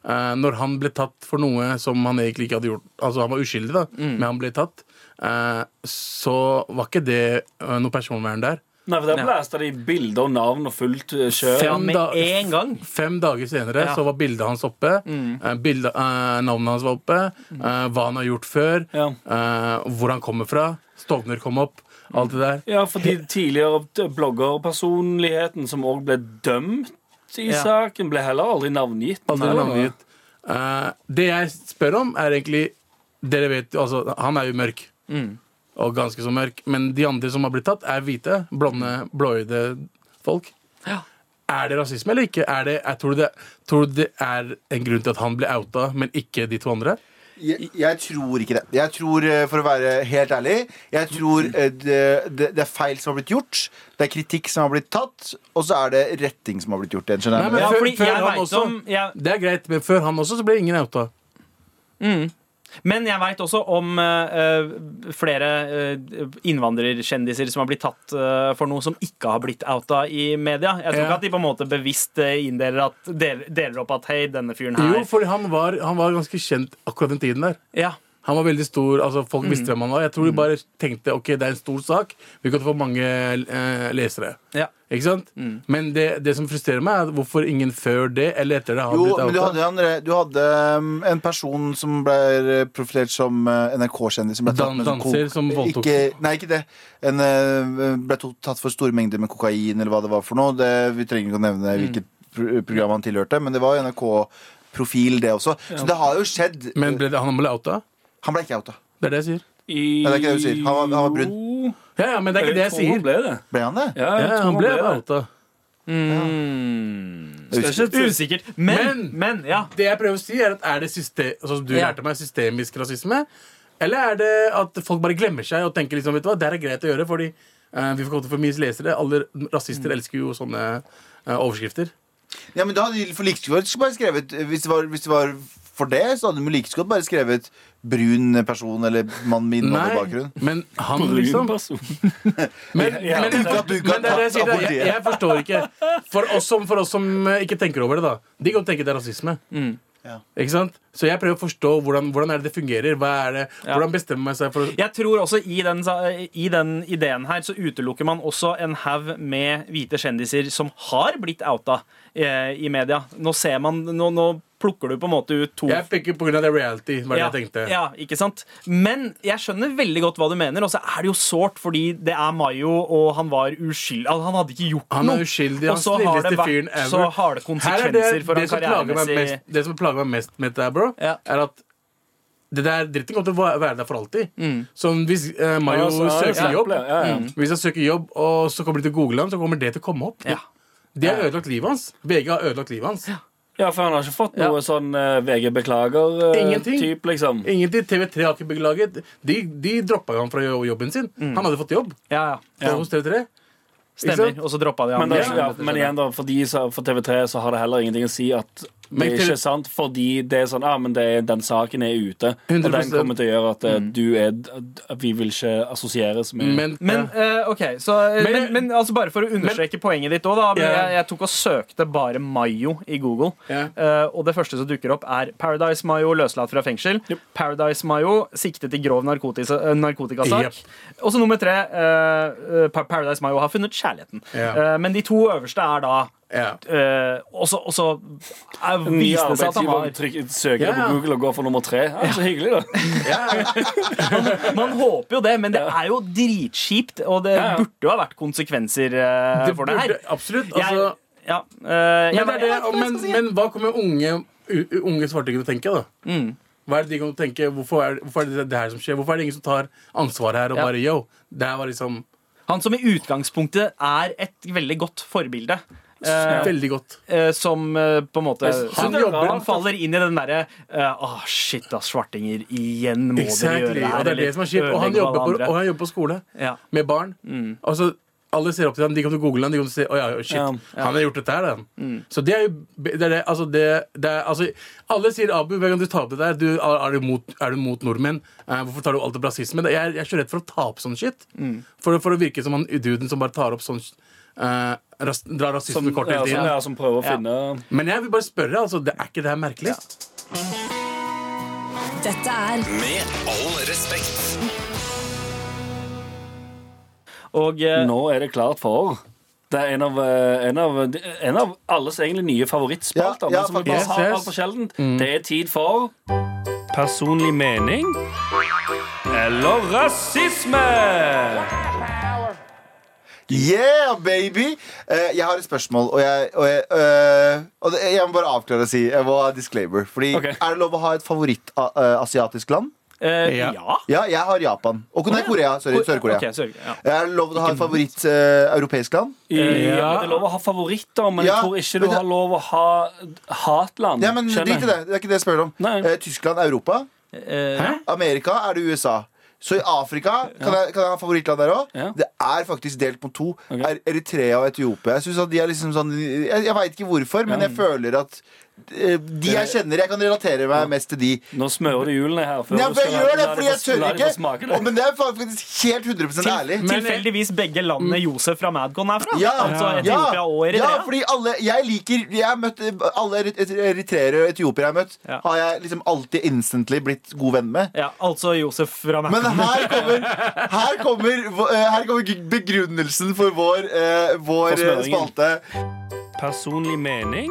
Speaker 5: eh, Når han ble tatt for noe som han egentlig ikke hadde gjort Altså, han var uskyldig, da,
Speaker 2: Mm.
Speaker 5: men han ble tatt. eh, så var ikke det eh, noe personvern der.
Speaker 4: Nei, for Der blæsta de bilder og navn og fullt
Speaker 2: Ja,
Speaker 4: eh, kjør.
Speaker 2: med
Speaker 5: da-
Speaker 2: en gang.
Speaker 5: Fem dager senere
Speaker 2: Ja. Mm.
Speaker 5: så var bildet hans oppe. eh, bildet, eh, navnet hans var oppe. eh, hva han har gjort før.
Speaker 4: Ja.
Speaker 5: eh, hvor han kommer fra. Stovner kom opp. Alt det der.
Speaker 4: Ja, fordi tidligere t- bloggerpersonligheten som òg ble dømt i
Speaker 2: Ja.
Speaker 4: saken, ble heller aldri navngitt.
Speaker 5: Aldri Altså, navngitt. Eh, det jeg spør om, er egentlig Dere vet jo, altså, han er jo mørk. Og ganske så mørk. Men de andre som har blitt tatt, er hvite. Blonde, blåøyde folk. Er det rasisme eller ikke? Er det, jeg tror, det, tror det er en grunn til at han ble outa, men ikke de to andre?
Speaker 3: Jeg, jeg tror ikke det. Jeg tror, eh, For å være helt ærlig, jeg tror eh, det, det, det er feil som har blitt gjort. Det er kritikk som har blitt tatt, og så er det retting som har blitt gjort. igjen, skjønner
Speaker 5: Nei,
Speaker 3: jeg.
Speaker 5: men
Speaker 2: Ja,
Speaker 5: før,
Speaker 2: fordi
Speaker 5: før
Speaker 2: jeg
Speaker 5: han
Speaker 2: vet
Speaker 5: også
Speaker 2: om- jeg-
Speaker 5: Det er greit, men før han også så ble ingen outa.
Speaker 2: Men jeg veit også om eh, eh, flere eh, innvandrerkjendiser som har blitt tatt eh, for noe som ikke har blitt outa i media. Jeg tror
Speaker 5: Ja.
Speaker 2: ikke at de på en måte bevisst eh, inndeler at, deler, deler opp at hei, denne fyren her
Speaker 5: Jo, for han var, han var ganske kjent akkurat den tiden der.
Speaker 2: ja.
Speaker 5: Han var veldig stor, altså Folk visste hvem han var. Jeg tror de bare tenkte ok, det er en stor sak. Vi kan få mange eh, lesere.
Speaker 2: Ja.
Speaker 5: Ikke sant? Men det, det som frustrerer meg, er hvorfor ingen før det eller etter det har
Speaker 3: Jo, men
Speaker 5: blitt
Speaker 3: du
Speaker 5: outa.
Speaker 3: hadde, andre, du hadde um, en person som ble eh, profilert som eh, NRK-kjendis. som ble tatt
Speaker 5: Dan-
Speaker 3: med
Speaker 5: danser
Speaker 3: kok-
Speaker 5: som voldtok.
Speaker 3: Ikke, nei, ikke det. En, eh, ble to- tatt for store mengder med kokain, eller hva det var for noe. Det, vi trenger ikke å
Speaker 5: Mm.
Speaker 3: nevne hvilket pro program han tilhørte, men det var NRK-profil, det også. Så det har jo skjedd.
Speaker 5: Men ble det, han ble outa?
Speaker 3: Han ble ikke outa.
Speaker 5: Det er det jeg sier.
Speaker 4: I...
Speaker 3: Nei, det er ikke det du sier. Han var- han var brun.
Speaker 4: Jo.
Speaker 5: Ja, ja, men det er ikke det jeg
Speaker 4: tror han
Speaker 5: sier.
Speaker 4: Ble det.
Speaker 3: Ble han det?
Speaker 4: Ja, jeg
Speaker 5: Ja,
Speaker 4: tror
Speaker 5: han ble
Speaker 4: det.
Speaker 5: outa.
Speaker 3: Jeg husker.
Speaker 2: Usikkert. Usikkert. Men,
Speaker 5: Mm. Men-
Speaker 2: men, ja.
Speaker 5: Det jeg prøver å si, er at er det system, altså, som du
Speaker 2: Ja.
Speaker 5: lærte meg, systemisk rasisme? Eller er det at folk bare glemmer seg og tenker liksom, vet du hva, det her er greit å gjøre, fordi eh, vi får komme til for mye lesere. Alle rasister elsker jo sånne eh, overskrifter.
Speaker 3: Ja, men da hadde de for like godt bare skrevet eh, hvis det, var, hvis det var for det, så hadde de like godt bare skrevet brun person eller mann med innvandrerbakgrunn.
Speaker 5: men han liksom Men, men, men,
Speaker 3: Uka, buka,
Speaker 5: det er det jeg sier, det er- jeg,
Speaker 3: politiet.
Speaker 5: jeg forstår ikke. For oss, som, for oss som eh, ikke tenker over det, da. De kan tenke det er rasisme.
Speaker 2: Mm.
Speaker 3: Ja.
Speaker 5: Ikke sant? Så jeg prøver å forstå hvordan, hvordan er det det fungerer. Hva er det,
Speaker 2: Ja.
Speaker 5: Hvordan bestemmer man seg for å
Speaker 2: Jeg tror også i den, i den ideen her så utelukker man også en haug med hvite kjendiser som har blitt outa eh, i media. Nå ser man Nå, nå plukker du på en måte ut to
Speaker 5: Jeg fikk jo på grunn av det reality, var det
Speaker 2: ja,
Speaker 5: jeg tenkte.
Speaker 2: ja, ikke sant? Men jeg skjønner veldig godt hva du mener, og så er det jo sårt, fordi det er Mayo, og han var uskyldig al- Han hadde ikke gjort
Speaker 5: Han er
Speaker 2: noe.
Speaker 5: uskyldig.
Speaker 2: Og
Speaker 5: Han
Speaker 2: så har det
Speaker 5: snilleste fyren
Speaker 2: vært så
Speaker 5: ever.
Speaker 2: harde
Speaker 5: Her er
Speaker 2: konsekvenser
Speaker 5: det,
Speaker 2: for
Speaker 5: det,
Speaker 2: han
Speaker 5: som plager meg
Speaker 2: karrieremessig.
Speaker 5: mest, det som plager meg mest med dette, her, bro,
Speaker 2: Ja.
Speaker 5: er at det der dritten kommer til å va- være der for alltid.
Speaker 2: Mm.
Speaker 5: Som hvis eh, Mayo
Speaker 4: Ja, så-
Speaker 5: søker
Speaker 4: ja,
Speaker 5: jobb,
Speaker 4: ja, ja.
Speaker 5: Mm. Hvis han søker jobb, og så kommer de til å google ham, så kommer det til å komme opp.
Speaker 2: Ja.
Speaker 5: De har ødelagt livet hans. VG har ødelagt livet hans.
Speaker 4: Ja, for han har ikke fått noe
Speaker 2: Ja.
Speaker 4: sånn eh, VG
Speaker 5: Ingenting.
Speaker 4: beklager-type, liksom.
Speaker 5: Ingenting. TV3 har ikke beklaget. De, de droppa jo ham fra jo- jobben sin. Han hadde fått jobb
Speaker 2: Ja, Mm. ja.
Speaker 5: hos TV3.
Speaker 2: Stemmer.
Speaker 5: sant?
Speaker 2: Og så droppa de han.
Speaker 4: Men, det,
Speaker 2: med en
Speaker 4: ja,
Speaker 2: gang.
Speaker 4: men igjen da, for, de, så- for TV3 så har det heller ingenting å si at det
Speaker 5: Men
Speaker 4: er
Speaker 5: TV
Speaker 4: ikke sant, fordi det er sånn, ah, men det er, den saken er ute, og
Speaker 5: 100%.
Speaker 4: den kommer til å gjøre at eh, du er, d- vi vil ikke assosieres med
Speaker 5: Men,
Speaker 2: Men, eh, ok, så, eh,
Speaker 5: Men-
Speaker 2: men, men altså bare for å understreke poenget ditt òg, da. men
Speaker 5: Ja.
Speaker 2: Jeg, jeg tok og søkte bare Mayo i Google.
Speaker 5: Ja.
Speaker 2: eh, og det første som dukker opp, er Paradise Mayo løslatt fra fengsel. Paradise Mayo siktet i grov narkotis eh, narkotikasak.
Speaker 5: Jep.
Speaker 2: Og så nummer tre, eh, eh, Pa- Paradise Mayo har funnet kjærligheten.
Speaker 5: Ja.
Speaker 2: Eh, men de to øverste er da
Speaker 5: Ja.
Speaker 2: eh, og så- og så eh,
Speaker 4: Ny
Speaker 2: viser det seg at han
Speaker 4: arbeidsgiver
Speaker 2: har
Speaker 4: trykker- søker
Speaker 5: Ja,
Speaker 4: på
Speaker 5: ja.
Speaker 4: Google og går for nummer tre. Ja, så hyggelig, da.
Speaker 2: Man håper jo det, men det er jo dritkjipt, og det
Speaker 4: Ja, ja.
Speaker 2: burde jo ha vært konsekvenser eh,
Speaker 5: Det
Speaker 2: for det her.
Speaker 5: burde- Absolutt.
Speaker 2: Jeg,
Speaker 5: Altså,
Speaker 2: ja, eh, jeg,
Speaker 5: men, det er det, men, men hva kommer unge, u- unge svartinger til å tenke, da?
Speaker 2: Mm.
Speaker 5: Hva er det de kommer til å tenke? Hvorfor er, hvorfor er det det her som skjer? Hvorfor er det ingen som tar ansvar her og
Speaker 2: Ja.
Speaker 5: bare yo? Det her var liksom
Speaker 2: Han som i utgangspunktet er et veldig godt forbilde. eh,
Speaker 5: veldig godt.
Speaker 2: eh, som eh, på en måte
Speaker 4: Jeg synes
Speaker 2: han,
Speaker 5: det er altså. rart,
Speaker 2: han faller inn i den derre eh, Åh, shit, ass, svartinger. Igjen må dere gjøre
Speaker 5: Exactly.
Speaker 2: det
Speaker 5: Og
Speaker 2: her.
Speaker 5: det er det
Speaker 2: eller
Speaker 5: som er kjipt. Og han
Speaker 2: ødelegge for
Speaker 5: jobber på,
Speaker 2: alle andre.
Speaker 5: og han jobber på skole
Speaker 2: Ja.
Speaker 5: med barn. Altså, alle ser opp til ham. De kommer til å google ham. De kommer til å si, «Å ja, Mm. shit,
Speaker 4: Ja.
Speaker 5: han har gjort dette her, da. Så det er jo det er det, altså, det, det er, altså, Alle sier Abu, hver gang du tar opp dette her, du, er, er, du mot, er du mot nordmenn? Eh, hvorfor tar du alt opp rasisme? Jeg, er- jeg er så redd for å ta opp sånn shit. For, for å virke som han duden som bare tar opp sånn eh, ras, Drar rasisme
Speaker 4: Som,
Speaker 5: kort
Speaker 4: ja,
Speaker 5: hele
Speaker 4: som,
Speaker 5: tiden.
Speaker 4: ja, som prøver å finne
Speaker 5: Men jeg vil bare spørre, altså, det er ikke det her merkelig?
Speaker 6: Dette er
Speaker 7: Med all respekt.
Speaker 2: Og eh,
Speaker 4: Nå er det klart for det er en av, eh, en av, en av alles egentlig nye favorittspalter.
Speaker 3: Ja, ja,
Speaker 4: men som vi bare
Speaker 5: faktisk.
Speaker 4: har
Speaker 5: Yes, yes.
Speaker 4: altfor sjeldent. Det er tid for Mm. Personlig mening eller rasisme.
Speaker 3: Yeah, baby! Eh, jeg har et spørsmål, og jeg, og jeg, eh, og det, jeg må bare avklare og si Jeg må ha disclaimer. Fordi
Speaker 4: Ok.
Speaker 3: Er det lov å ha et favorittasiatisk land?
Speaker 2: eh,
Speaker 5: Ja.
Speaker 2: Ja.
Speaker 3: Ja, jeg har Japan. Og, nei, Korea. Sorry. Sør-Korea.
Speaker 2: Ok, Sør ja.
Speaker 3: Er det lov å ha et favoritt-europeisk land?
Speaker 4: Eh, Ja. Det er lov å ha favoritter, men
Speaker 3: Ja,
Speaker 4: jeg tror
Speaker 3: men
Speaker 4: ikke du
Speaker 3: det-
Speaker 4: har lov å ha hatland.
Speaker 3: Ja, men
Speaker 4: skjønner
Speaker 3: Drit i
Speaker 4: jeg.
Speaker 3: det. Det er ikke det jeg spør om.
Speaker 4: Nei.
Speaker 3: Eh, Tyskland, Europa.
Speaker 2: Eh,
Speaker 3: Amerika er det USA. Så i Afrika kan, jeg, kan jeg ha favorittland der òg.
Speaker 4: Ja.
Speaker 3: Det er faktisk delt på to. Er Eritrea og Etiopia. Jeg synes at de er liksom sånn Jeg, jeg veit ikke hvorfor, men jeg føler at eh, de jeg kjenner, jeg kan relatere meg mest til de.
Speaker 4: Nå smører du hjulene her. før
Speaker 3: Ja, men
Speaker 4: du
Speaker 3: jeg
Speaker 4: skal-
Speaker 3: gjør det,
Speaker 4: la de
Speaker 3: fordi
Speaker 4: få-
Speaker 3: jeg tør
Speaker 4: la de få
Speaker 3: ikke.
Speaker 4: smake det.
Speaker 3: Å, men det er faktisk helt 100 ærlig.
Speaker 5: Mm.
Speaker 2: Tilfeldigvis begge landene Josef fra Madcon er fra.
Speaker 3: Ja,
Speaker 2: altså
Speaker 3: ja,
Speaker 2: Etiopia og Eritrea.
Speaker 3: ja, fordi alle jeg liker jeg har møtt, Alle erit- eritreere og etiopiere jeg har møtt,
Speaker 2: Ja.
Speaker 3: har jeg liksom alltid instantly blitt god venn med.
Speaker 2: ja, altså Josef fra
Speaker 3: Men
Speaker 2: Madcon.
Speaker 3: her kommer, her kommer, vå- eh, her kommer begrunnelsen for vår, eh, vår eh,
Speaker 4: smøringen.
Speaker 3: spalte.
Speaker 4: Personlig mening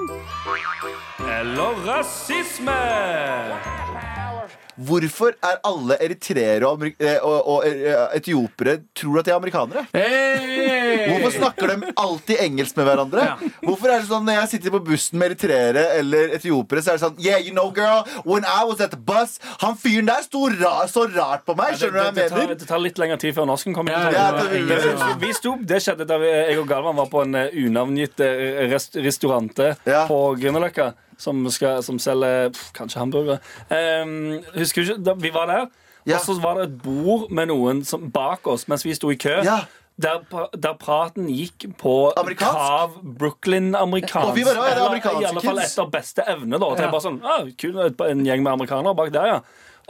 Speaker 4: eller rasisme?
Speaker 3: Hvorfor er alle eritreere og, amerik- eh, og, og eh, etiopiere tror at de er amerikanere?
Speaker 5: Hey!
Speaker 3: Hvorfor snakker de alltid engelsk med hverandre? Hvorfor er det sånn Når jeg sitter på bussen med eritreere eller etiopiere, så er det sånn Yeah, you know, girl, when I was at the bus Han fyren der sto ra så rart på meg. Skjønner du hva
Speaker 4: det,
Speaker 3: jeg
Speaker 4: tar,
Speaker 3: mener?
Speaker 4: det tar litt lengre tid før norsken kommer. inn.
Speaker 3: Ja, det-
Speaker 4: Vi sto- vi sto, det skjedde da vi- jeg og Galvan var på en eh, unavngitt eh, rest, restaurant
Speaker 3: Ja.
Speaker 4: på Grünerløkka som, skal- som selger pff, kanskje hamburgere. Ehm, husker du ikke? Da, vi var der,
Speaker 3: Ja.
Speaker 4: og så var det et bord med noen som, bak oss mens vi sto i kø.
Speaker 3: Ja.
Speaker 4: Der, pra- der praten gikk på
Speaker 3: Amerikansk?
Speaker 4: kav Brooklyn-amerikansk.
Speaker 3: Og vi bare, ja, det er amerikanske
Speaker 4: i alle fall
Speaker 3: kids.
Speaker 4: etter beste evne. da Til bare sånn, ah, kul, En gjeng med amerikanere bak der, ja.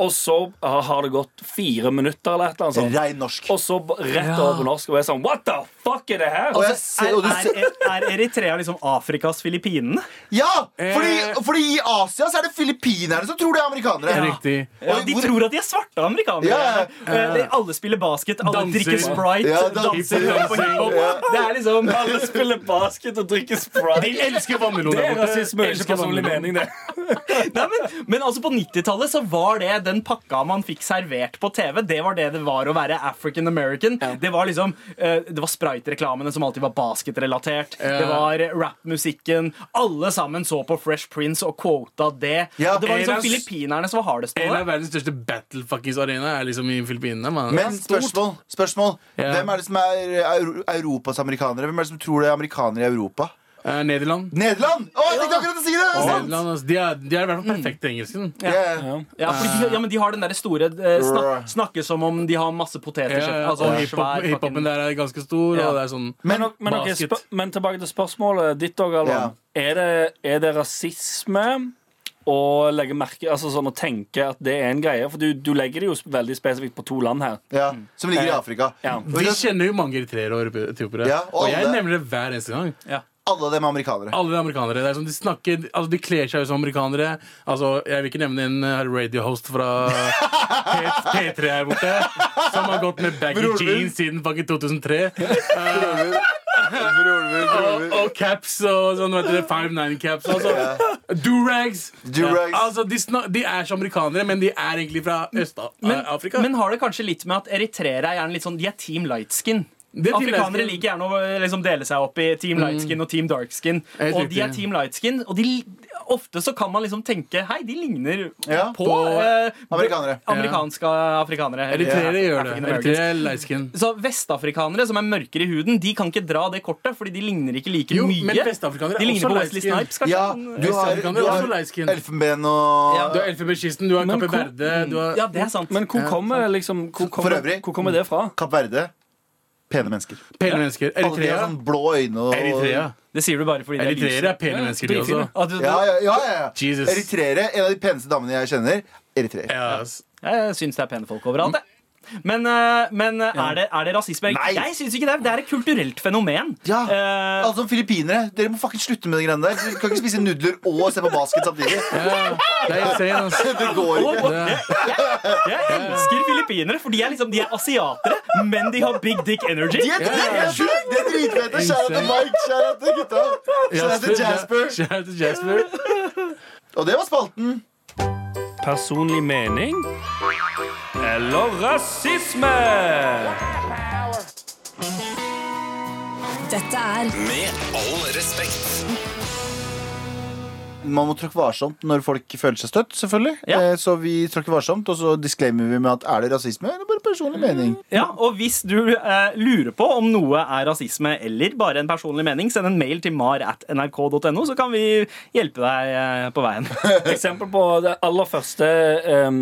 Speaker 4: Og så ah, har det gått fire minutter, eller et eller annet sånt.
Speaker 3: Rein norsk.
Speaker 4: Og så b- rett over på norsk, og jeg er sånn What the fuck er det her?
Speaker 3: Og
Speaker 4: Og
Speaker 3: jeg ser, og du
Speaker 2: Er,
Speaker 3: ser
Speaker 2: er, er Eritrea liksom Afrikas Filippinene?
Speaker 3: Ja! Fordi, fordi i Asia så er det filippinerne som tror de er amerikanere.
Speaker 5: Riktig.
Speaker 2: Ja,
Speaker 3: Og
Speaker 2: de
Speaker 3: hvor-
Speaker 2: tror at de er svarte amerikanere.
Speaker 3: Ja,
Speaker 2: Eh, de- Alle spiller basket, alle
Speaker 5: Danser.
Speaker 2: drikker Sprite,
Speaker 3: Ja, danser.
Speaker 2: danser, hører på hiphop. Det er liksom
Speaker 4: alle spiller basket og drikker sprite.
Speaker 5: Elsker vannmelon.
Speaker 4: Det
Speaker 5: der
Speaker 4: er
Speaker 5: borte.
Speaker 4: rasisme, ikke
Speaker 5: Elsker
Speaker 4: personlig
Speaker 5: vannmelon.
Speaker 4: mening, det.
Speaker 2: Nei, men, men altså på 90-tallet så var det den pakka man fikk servert på TV. Det var det det var å være African American. Det var liksom eh, Det var Sprite-reklamene som alltid var basketrelatert. Det var rappmusikken. Alle sammen så på Fresh Prince og quota det.
Speaker 3: Ja,
Speaker 2: Og det var liksom
Speaker 5: Eras-
Speaker 2: filippinerne som var hardest på
Speaker 5: En av
Speaker 2: det.
Speaker 5: verdens største battlefuckings-arena er liksom i Filippinene. Man.
Speaker 3: Men spørsmål. spørsmål.
Speaker 5: Ja.
Speaker 3: Hvem er det som er euro- Europas amerikanere? Hvem er det som tror det er amerikanere i Europa?
Speaker 5: Eh, Nederland.
Speaker 3: Nederland! Å, jeg tenkte akkurat å si det! det er sant! Mm.
Speaker 5: Nederland altså, de, er, de er i hvert fall perfekte i engelsken.
Speaker 3: Yeah.
Speaker 2: Ja, fordi de, ja, men de har den derre store eh, snak, Snakke som om de har masse poteter.
Speaker 5: Ja, ja,
Speaker 2: altså,
Speaker 5: og
Speaker 2: svær
Speaker 5: hiphop-
Speaker 2: fucking-
Speaker 5: Hiphopen der er ganske stor.
Speaker 2: Ja.
Speaker 5: Og det er sånn
Speaker 4: Men, ok- men, ok,
Speaker 5: Basket.
Speaker 4: spør- men tilbake til spørsmålet ditt, da, Galvan. Er, det- er det rasisme å legge merke Altså sånn å tenke at det er en greie? For du, du legger det jo veldig spesifikt på to land her.
Speaker 3: Ja,
Speaker 5: Mm.
Speaker 3: som ligger
Speaker 5: Eh,
Speaker 3: i Afrika.
Speaker 4: Ja.
Speaker 3: Og
Speaker 5: Vi
Speaker 3: ikke sant,
Speaker 5: kjenner jo mange eritreere og etiopiere.
Speaker 3: Ja, og
Speaker 5: og jeg
Speaker 3: alle-
Speaker 5: nevner det hver eneste gang.
Speaker 3: Alle dem er amerikanere.
Speaker 5: Alle de amerikanere. Det er sånn, de snakker, altså, de kler seg jo som amerikanere. Altså, Jeg vil ikke nevne en eh, radiohost fra P- P3 her borte som har gått med baggy
Speaker 3: Broren min.
Speaker 5: jeans siden fucking 2003. Eh,
Speaker 3: Bror min, bror
Speaker 5: Og,
Speaker 3: min.
Speaker 5: og caps og sånn, vet dere, Five Nine caps. Altså, Durags.
Speaker 3: Durags.
Speaker 5: Altså, de, snak- de er ikke amerikanere, men de er egentlig fra
Speaker 2: Men,
Speaker 5: Øst-Afrika.
Speaker 2: men har det kanskje litt med at eritreere er gjerne litt sånn De er Team Lightskin.
Speaker 5: Det er Team
Speaker 2: Afrikanere
Speaker 5: Lightskin.
Speaker 2: liker gjerne å eh, liksom dele seg opp i Team Lightskin og Team Darkskin.
Speaker 5: Helt
Speaker 2: Og de er
Speaker 5: riktig.
Speaker 2: Team Lightskin, og de, ofte så kan man liksom tenke Hei, de ligner
Speaker 3: Ja,
Speaker 2: på,
Speaker 5: på
Speaker 2: eh,
Speaker 3: amerikanere.
Speaker 2: Amerikanske afrikanere.
Speaker 5: Eritreere gjør det.
Speaker 2: African Americans.
Speaker 5: Eritreere er light-skin.
Speaker 2: Så Vestafrikanere som er mørkere i huden, de kan ikke dra det kortet, fordi de ligner ikke like
Speaker 5: Jo,
Speaker 2: mye.
Speaker 5: men vestafrikanere
Speaker 2: de
Speaker 5: er
Speaker 2: ligner
Speaker 5: også
Speaker 2: på Wesley
Speaker 5: light-skin.
Speaker 2: Snipes, kanskje.
Speaker 3: Ja,
Speaker 2: men-
Speaker 3: du har,
Speaker 5: Øst-Afrikaner
Speaker 3: du
Speaker 5: er også light skin.
Speaker 3: har elfenben og
Speaker 2: Ja.
Speaker 5: Du har Elfenbenskysten, du har
Speaker 4: Men
Speaker 5: Kappe
Speaker 4: hvor-
Speaker 5: Verde du har,
Speaker 2: ja, det er sant.
Speaker 4: Men hvor kommer, liksom, hvor
Speaker 3: For
Speaker 4: kommer,
Speaker 3: øvrig-
Speaker 4: hvor kommer det fra?
Speaker 3: Kapp Verde. Pene mennesker.
Speaker 5: Pene mennesker.
Speaker 3: Alle de har
Speaker 5: Eritrea.
Speaker 3: sånn blå øyne og
Speaker 5: Eritrea.
Speaker 2: det sier du bare fordi det er lyset.
Speaker 5: Eritreere er pene mennesker, altså? de også.
Speaker 4: Dritfine.
Speaker 2: At du-
Speaker 3: Ja, ja, ja, ja.
Speaker 5: Jesus.
Speaker 3: Eritreere. En av de peneste damene jeg kjenner. Eritreer.
Speaker 5: Ja, ass.
Speaker 2: Jeg syns det er pene folk overalt, jeg. Men, eh, men eh, er, det, er det rasisme?
Speaker 3: Nei.
Speaker 2: Jeg syns ikke det. er- Det er et kulturelt fenomen.
Speaker 3: Ja.
Speaker 2: Eh,
Speaker 3: Alle som filippinere. Dere må fucking slutte med de greiene der. Dere kan ikke spise nudler og se på basket samtidig.
Speaker 5: Ja, det er insane, ass.
Speaker 3: Det går
Speaker 2: og-
Speaker 3: ikke.
Speaker 2: og- jeg, jeg elsker filippinere, for de er, liksom, de er asiatere, men de har big dick energy.
Speaker 3: De er, de er, de er, de er dritfete. Kjære til Mike, kjære til gutta. Kjære til Jasper.
Speaker 5: Shout out to Jasper.
Speaker 3: Og det var spalten.
Speaker 4: Personlig mening eller rasisme?
Speaker 6: Dette er
Speaker 7: Med all respekt.
Speaker 3: Man må tråkke varsomt når folk føler seg støtt, selvfølgelig.
Speaker 2: Ja.
Speaker 3: Eh, Så vi tråkker varsomt, og så disclaimer vi med at er det rasisme eller bare personlig mening?
Speaker 2: Ja, og hvis du eh, lurer på om noe er rasisme eller bare en personlig mening, send en mail til mar at nrk.no, så kan vi hjelpe deg eh, på veien.
Speaker 4: Eksempel på det aller første em,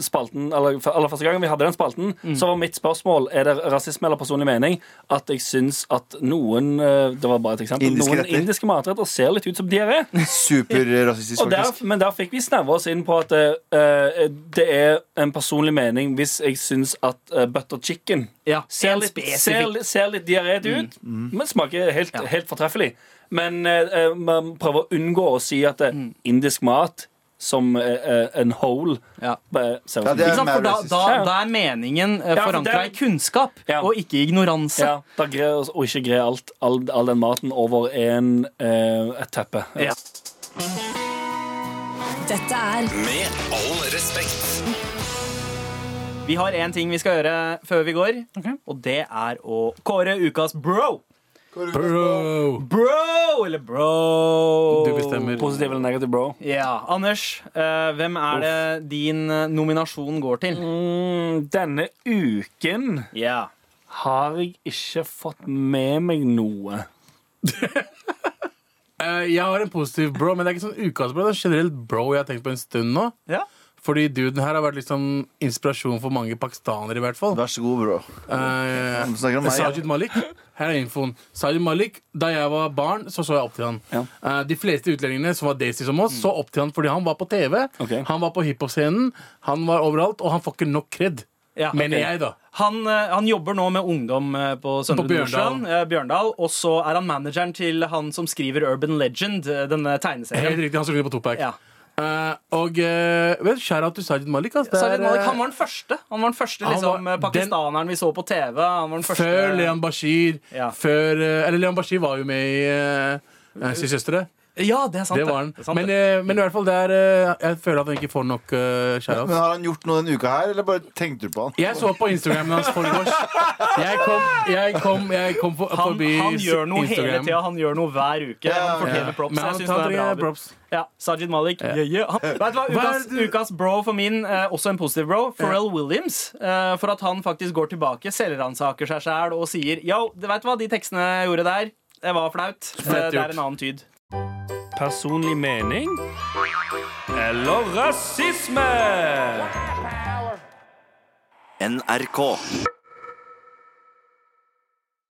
Speaker 4: spalten Eller f- aller første gangen vi hadde den spalten, så var mitt spørsmål er det rasisme eller personlig mening at jeg syns at noen eh, Det var bare et eksempel
Speaker 3: Indiske
Speaker 4: Noen
Speaker 3: retter.
Speaker 4: indiske matretter ser litt ut som diaré.
Speaker 3: Superrasistisk,
Speaker 4: Og der,
Speaker 3: faktisk.
Speaker 4: men der fikk vi snevre oss inn på at eh, det er en personlig mening hvis jeg syns at eh, butter chicken
Speaker 2: Ja,
Speaker 4: ser
Speaker 2: helt
Speaker 4: litt, ser,
Speaker 2: spesifikt. Mm,
Speaker 4: litt- ser litt diaré ut, men smaker helt, helt fortreffelig. Men eh, eh, man prøver å unngå å si at eh,
Speaker 2: Mm.
Speaker 4: indisk mat som eh, eh, en whole
Speaker 2: Ja.
Speaker 4: eh, ser
Speaker 3: Ja, det
Speaker 2: Ikke
Speaker 4: ut som
Speaker 3: er
Speaker 4: indisk.
Speaker 2: sant? For da, da,
Speaker 4: Ja, ja.
Speaker 2: da er meningen eh,
Speaker 4: Ja, for
Speaker 2: forankra i
Speaker 4: det er-
Speaker 2: kunnskap
Speaker 4: Ja.
Speaker 2: og ikke i ignoranse.
Speaker 4: ja, da greier oss å ikke greie alt, all, all den maten over en, eh, et teppe.
Speaker 2: Ja.
Speaker 6: Dette er
Speaker 7: Med all respekt.
Speaker 2: Vi har én ting vi skal gjøre før vi går, og det er å kåre ukas bro.
Speaker 5: Bro.
Speaker 2: Bro eller bro.
Speaker 5: Du bestemmer.
Speaker 4: Positiv eller negativ, bro?
Speaker 2: Ja, Anders, eh, hvem er det din eh, nominasjon går til?
Speaker 4: Mm, denne uken
Speaker 2: Ja.
Speaker 4: har jeg ikke fått med meg noe.
Speaker 5: Eh, jeg har en positiv bro, men det er ikke sånn ukas bro. Det er generelt bro jeg har tenkt på en stund nå.
Speaker 2: ja.
Speaker 5: Fordi duden her har vært liksom inspirasjon for mange pakistanere, i hvert fall.
Speaker 3: Vær så god, bro.
Speaker 5: Eh,
Speaker 3: Du snakker om meg, ja.
Speaker 5: Sajid Malik. Her er infoen. Sajid Malik, Da jeg var barn, så så jeg opp til han.
Speaker 4: Ja.
Speaker 5: Eh, de fleste utlendingene som var daisy som oss, så opp til han fordi han var på TV,
Speaker 4: Ok.
Speaker 5: han var på hiphop-scenen, han var overalt, og han får ikke nok kred.
Speaker 2: Ja,
Speaker 5: mener
Speaker 2: ok.
Speaker 5: jeg, da.
Speaker 2: Han, eh, han jobber nå med ungdom eh, på Søndre
Speaker 5: På Bjørndal.
Speaker 2: Nordstrand, eh, Bjørndal. Og så er han manageren til han som skriver Urban Legend, eh, denne
Speaker 5: Helt
Speaker 2: tegneserien.
Speaker 5: riktig, han skriver på Topak.
Speaker 2: Ja.
Speaker 5: Eh, og eh, vet du, shout out til Sajid Malik. ass. Det er,
Speaker 2: Sajid Malik,
Speaker 5: eh,
Speaker 2: han var den første Han var den første
Speaker 5: Han var
Speaker 2: liksom, eh, pakistaneren vi så på TV. Han var den første
Speaker 5: Før Leon Bashir.
Speaker 2: Ja.
Speaker 5: Før, eh, eller Leon Bashir var jo med i uh, Syv søstre.
Speaker 2: Ja, det er sant.
Speaker 5: Det var han.
Speaker 2: Det er sant,
Speaker 5: Men,
Speaker 2: det.
Speaker 5: eh, men i hvert fall, det er, eh, jeg føler at han ikke får nok uh,
Speaker 3: Men har han gjort noe denne uka her, eller bare tenkte du på han?
Speaker 5: Jeg så på Instagramen hans foregårs. Jeg kom, jeg kom, jeg kom for,
Speaker 2: han,
Speaker 5: forbi
Speaker 2: han gjør noe hele
Speaker 5: Instagram.
Speaker 2: tida. Han gjør noe hver uke.
Speaker 3: Ja,
Speaker 2: han fortjener
Speaker 5: ja.
Speaker 2: props.
Speaker 5: Men han-
Speaker 2: jeg synes
Speaker 5: han
Speaker 2: det er
Speaker 5: trenger
Speaker 2: bra.
Speaker 5: props.
Speaker 2: Ja, Sajid Malik. Yeah. Yeah, Han, vet du hva,
Speaker 5: Hva
Speaker 2: ukas,
Speaker 5: er det-
Speaker 2: ukas bro for min, eh, også en positiv bro, Pharrell Williams. Eh, for at han faktisk går tilbake, selvransaker seg sjæl og sier Yo, du vet hva, de tekstene jeg gjorde der, det var flaut. Eh,
Speaker 5: Fett
Speaker 2: det
Speaker 5: gjort.
Speaker 2: er en annen tyd.
Speaker 4: Personlig mening eller rasisme?
Speaker 8: NRK.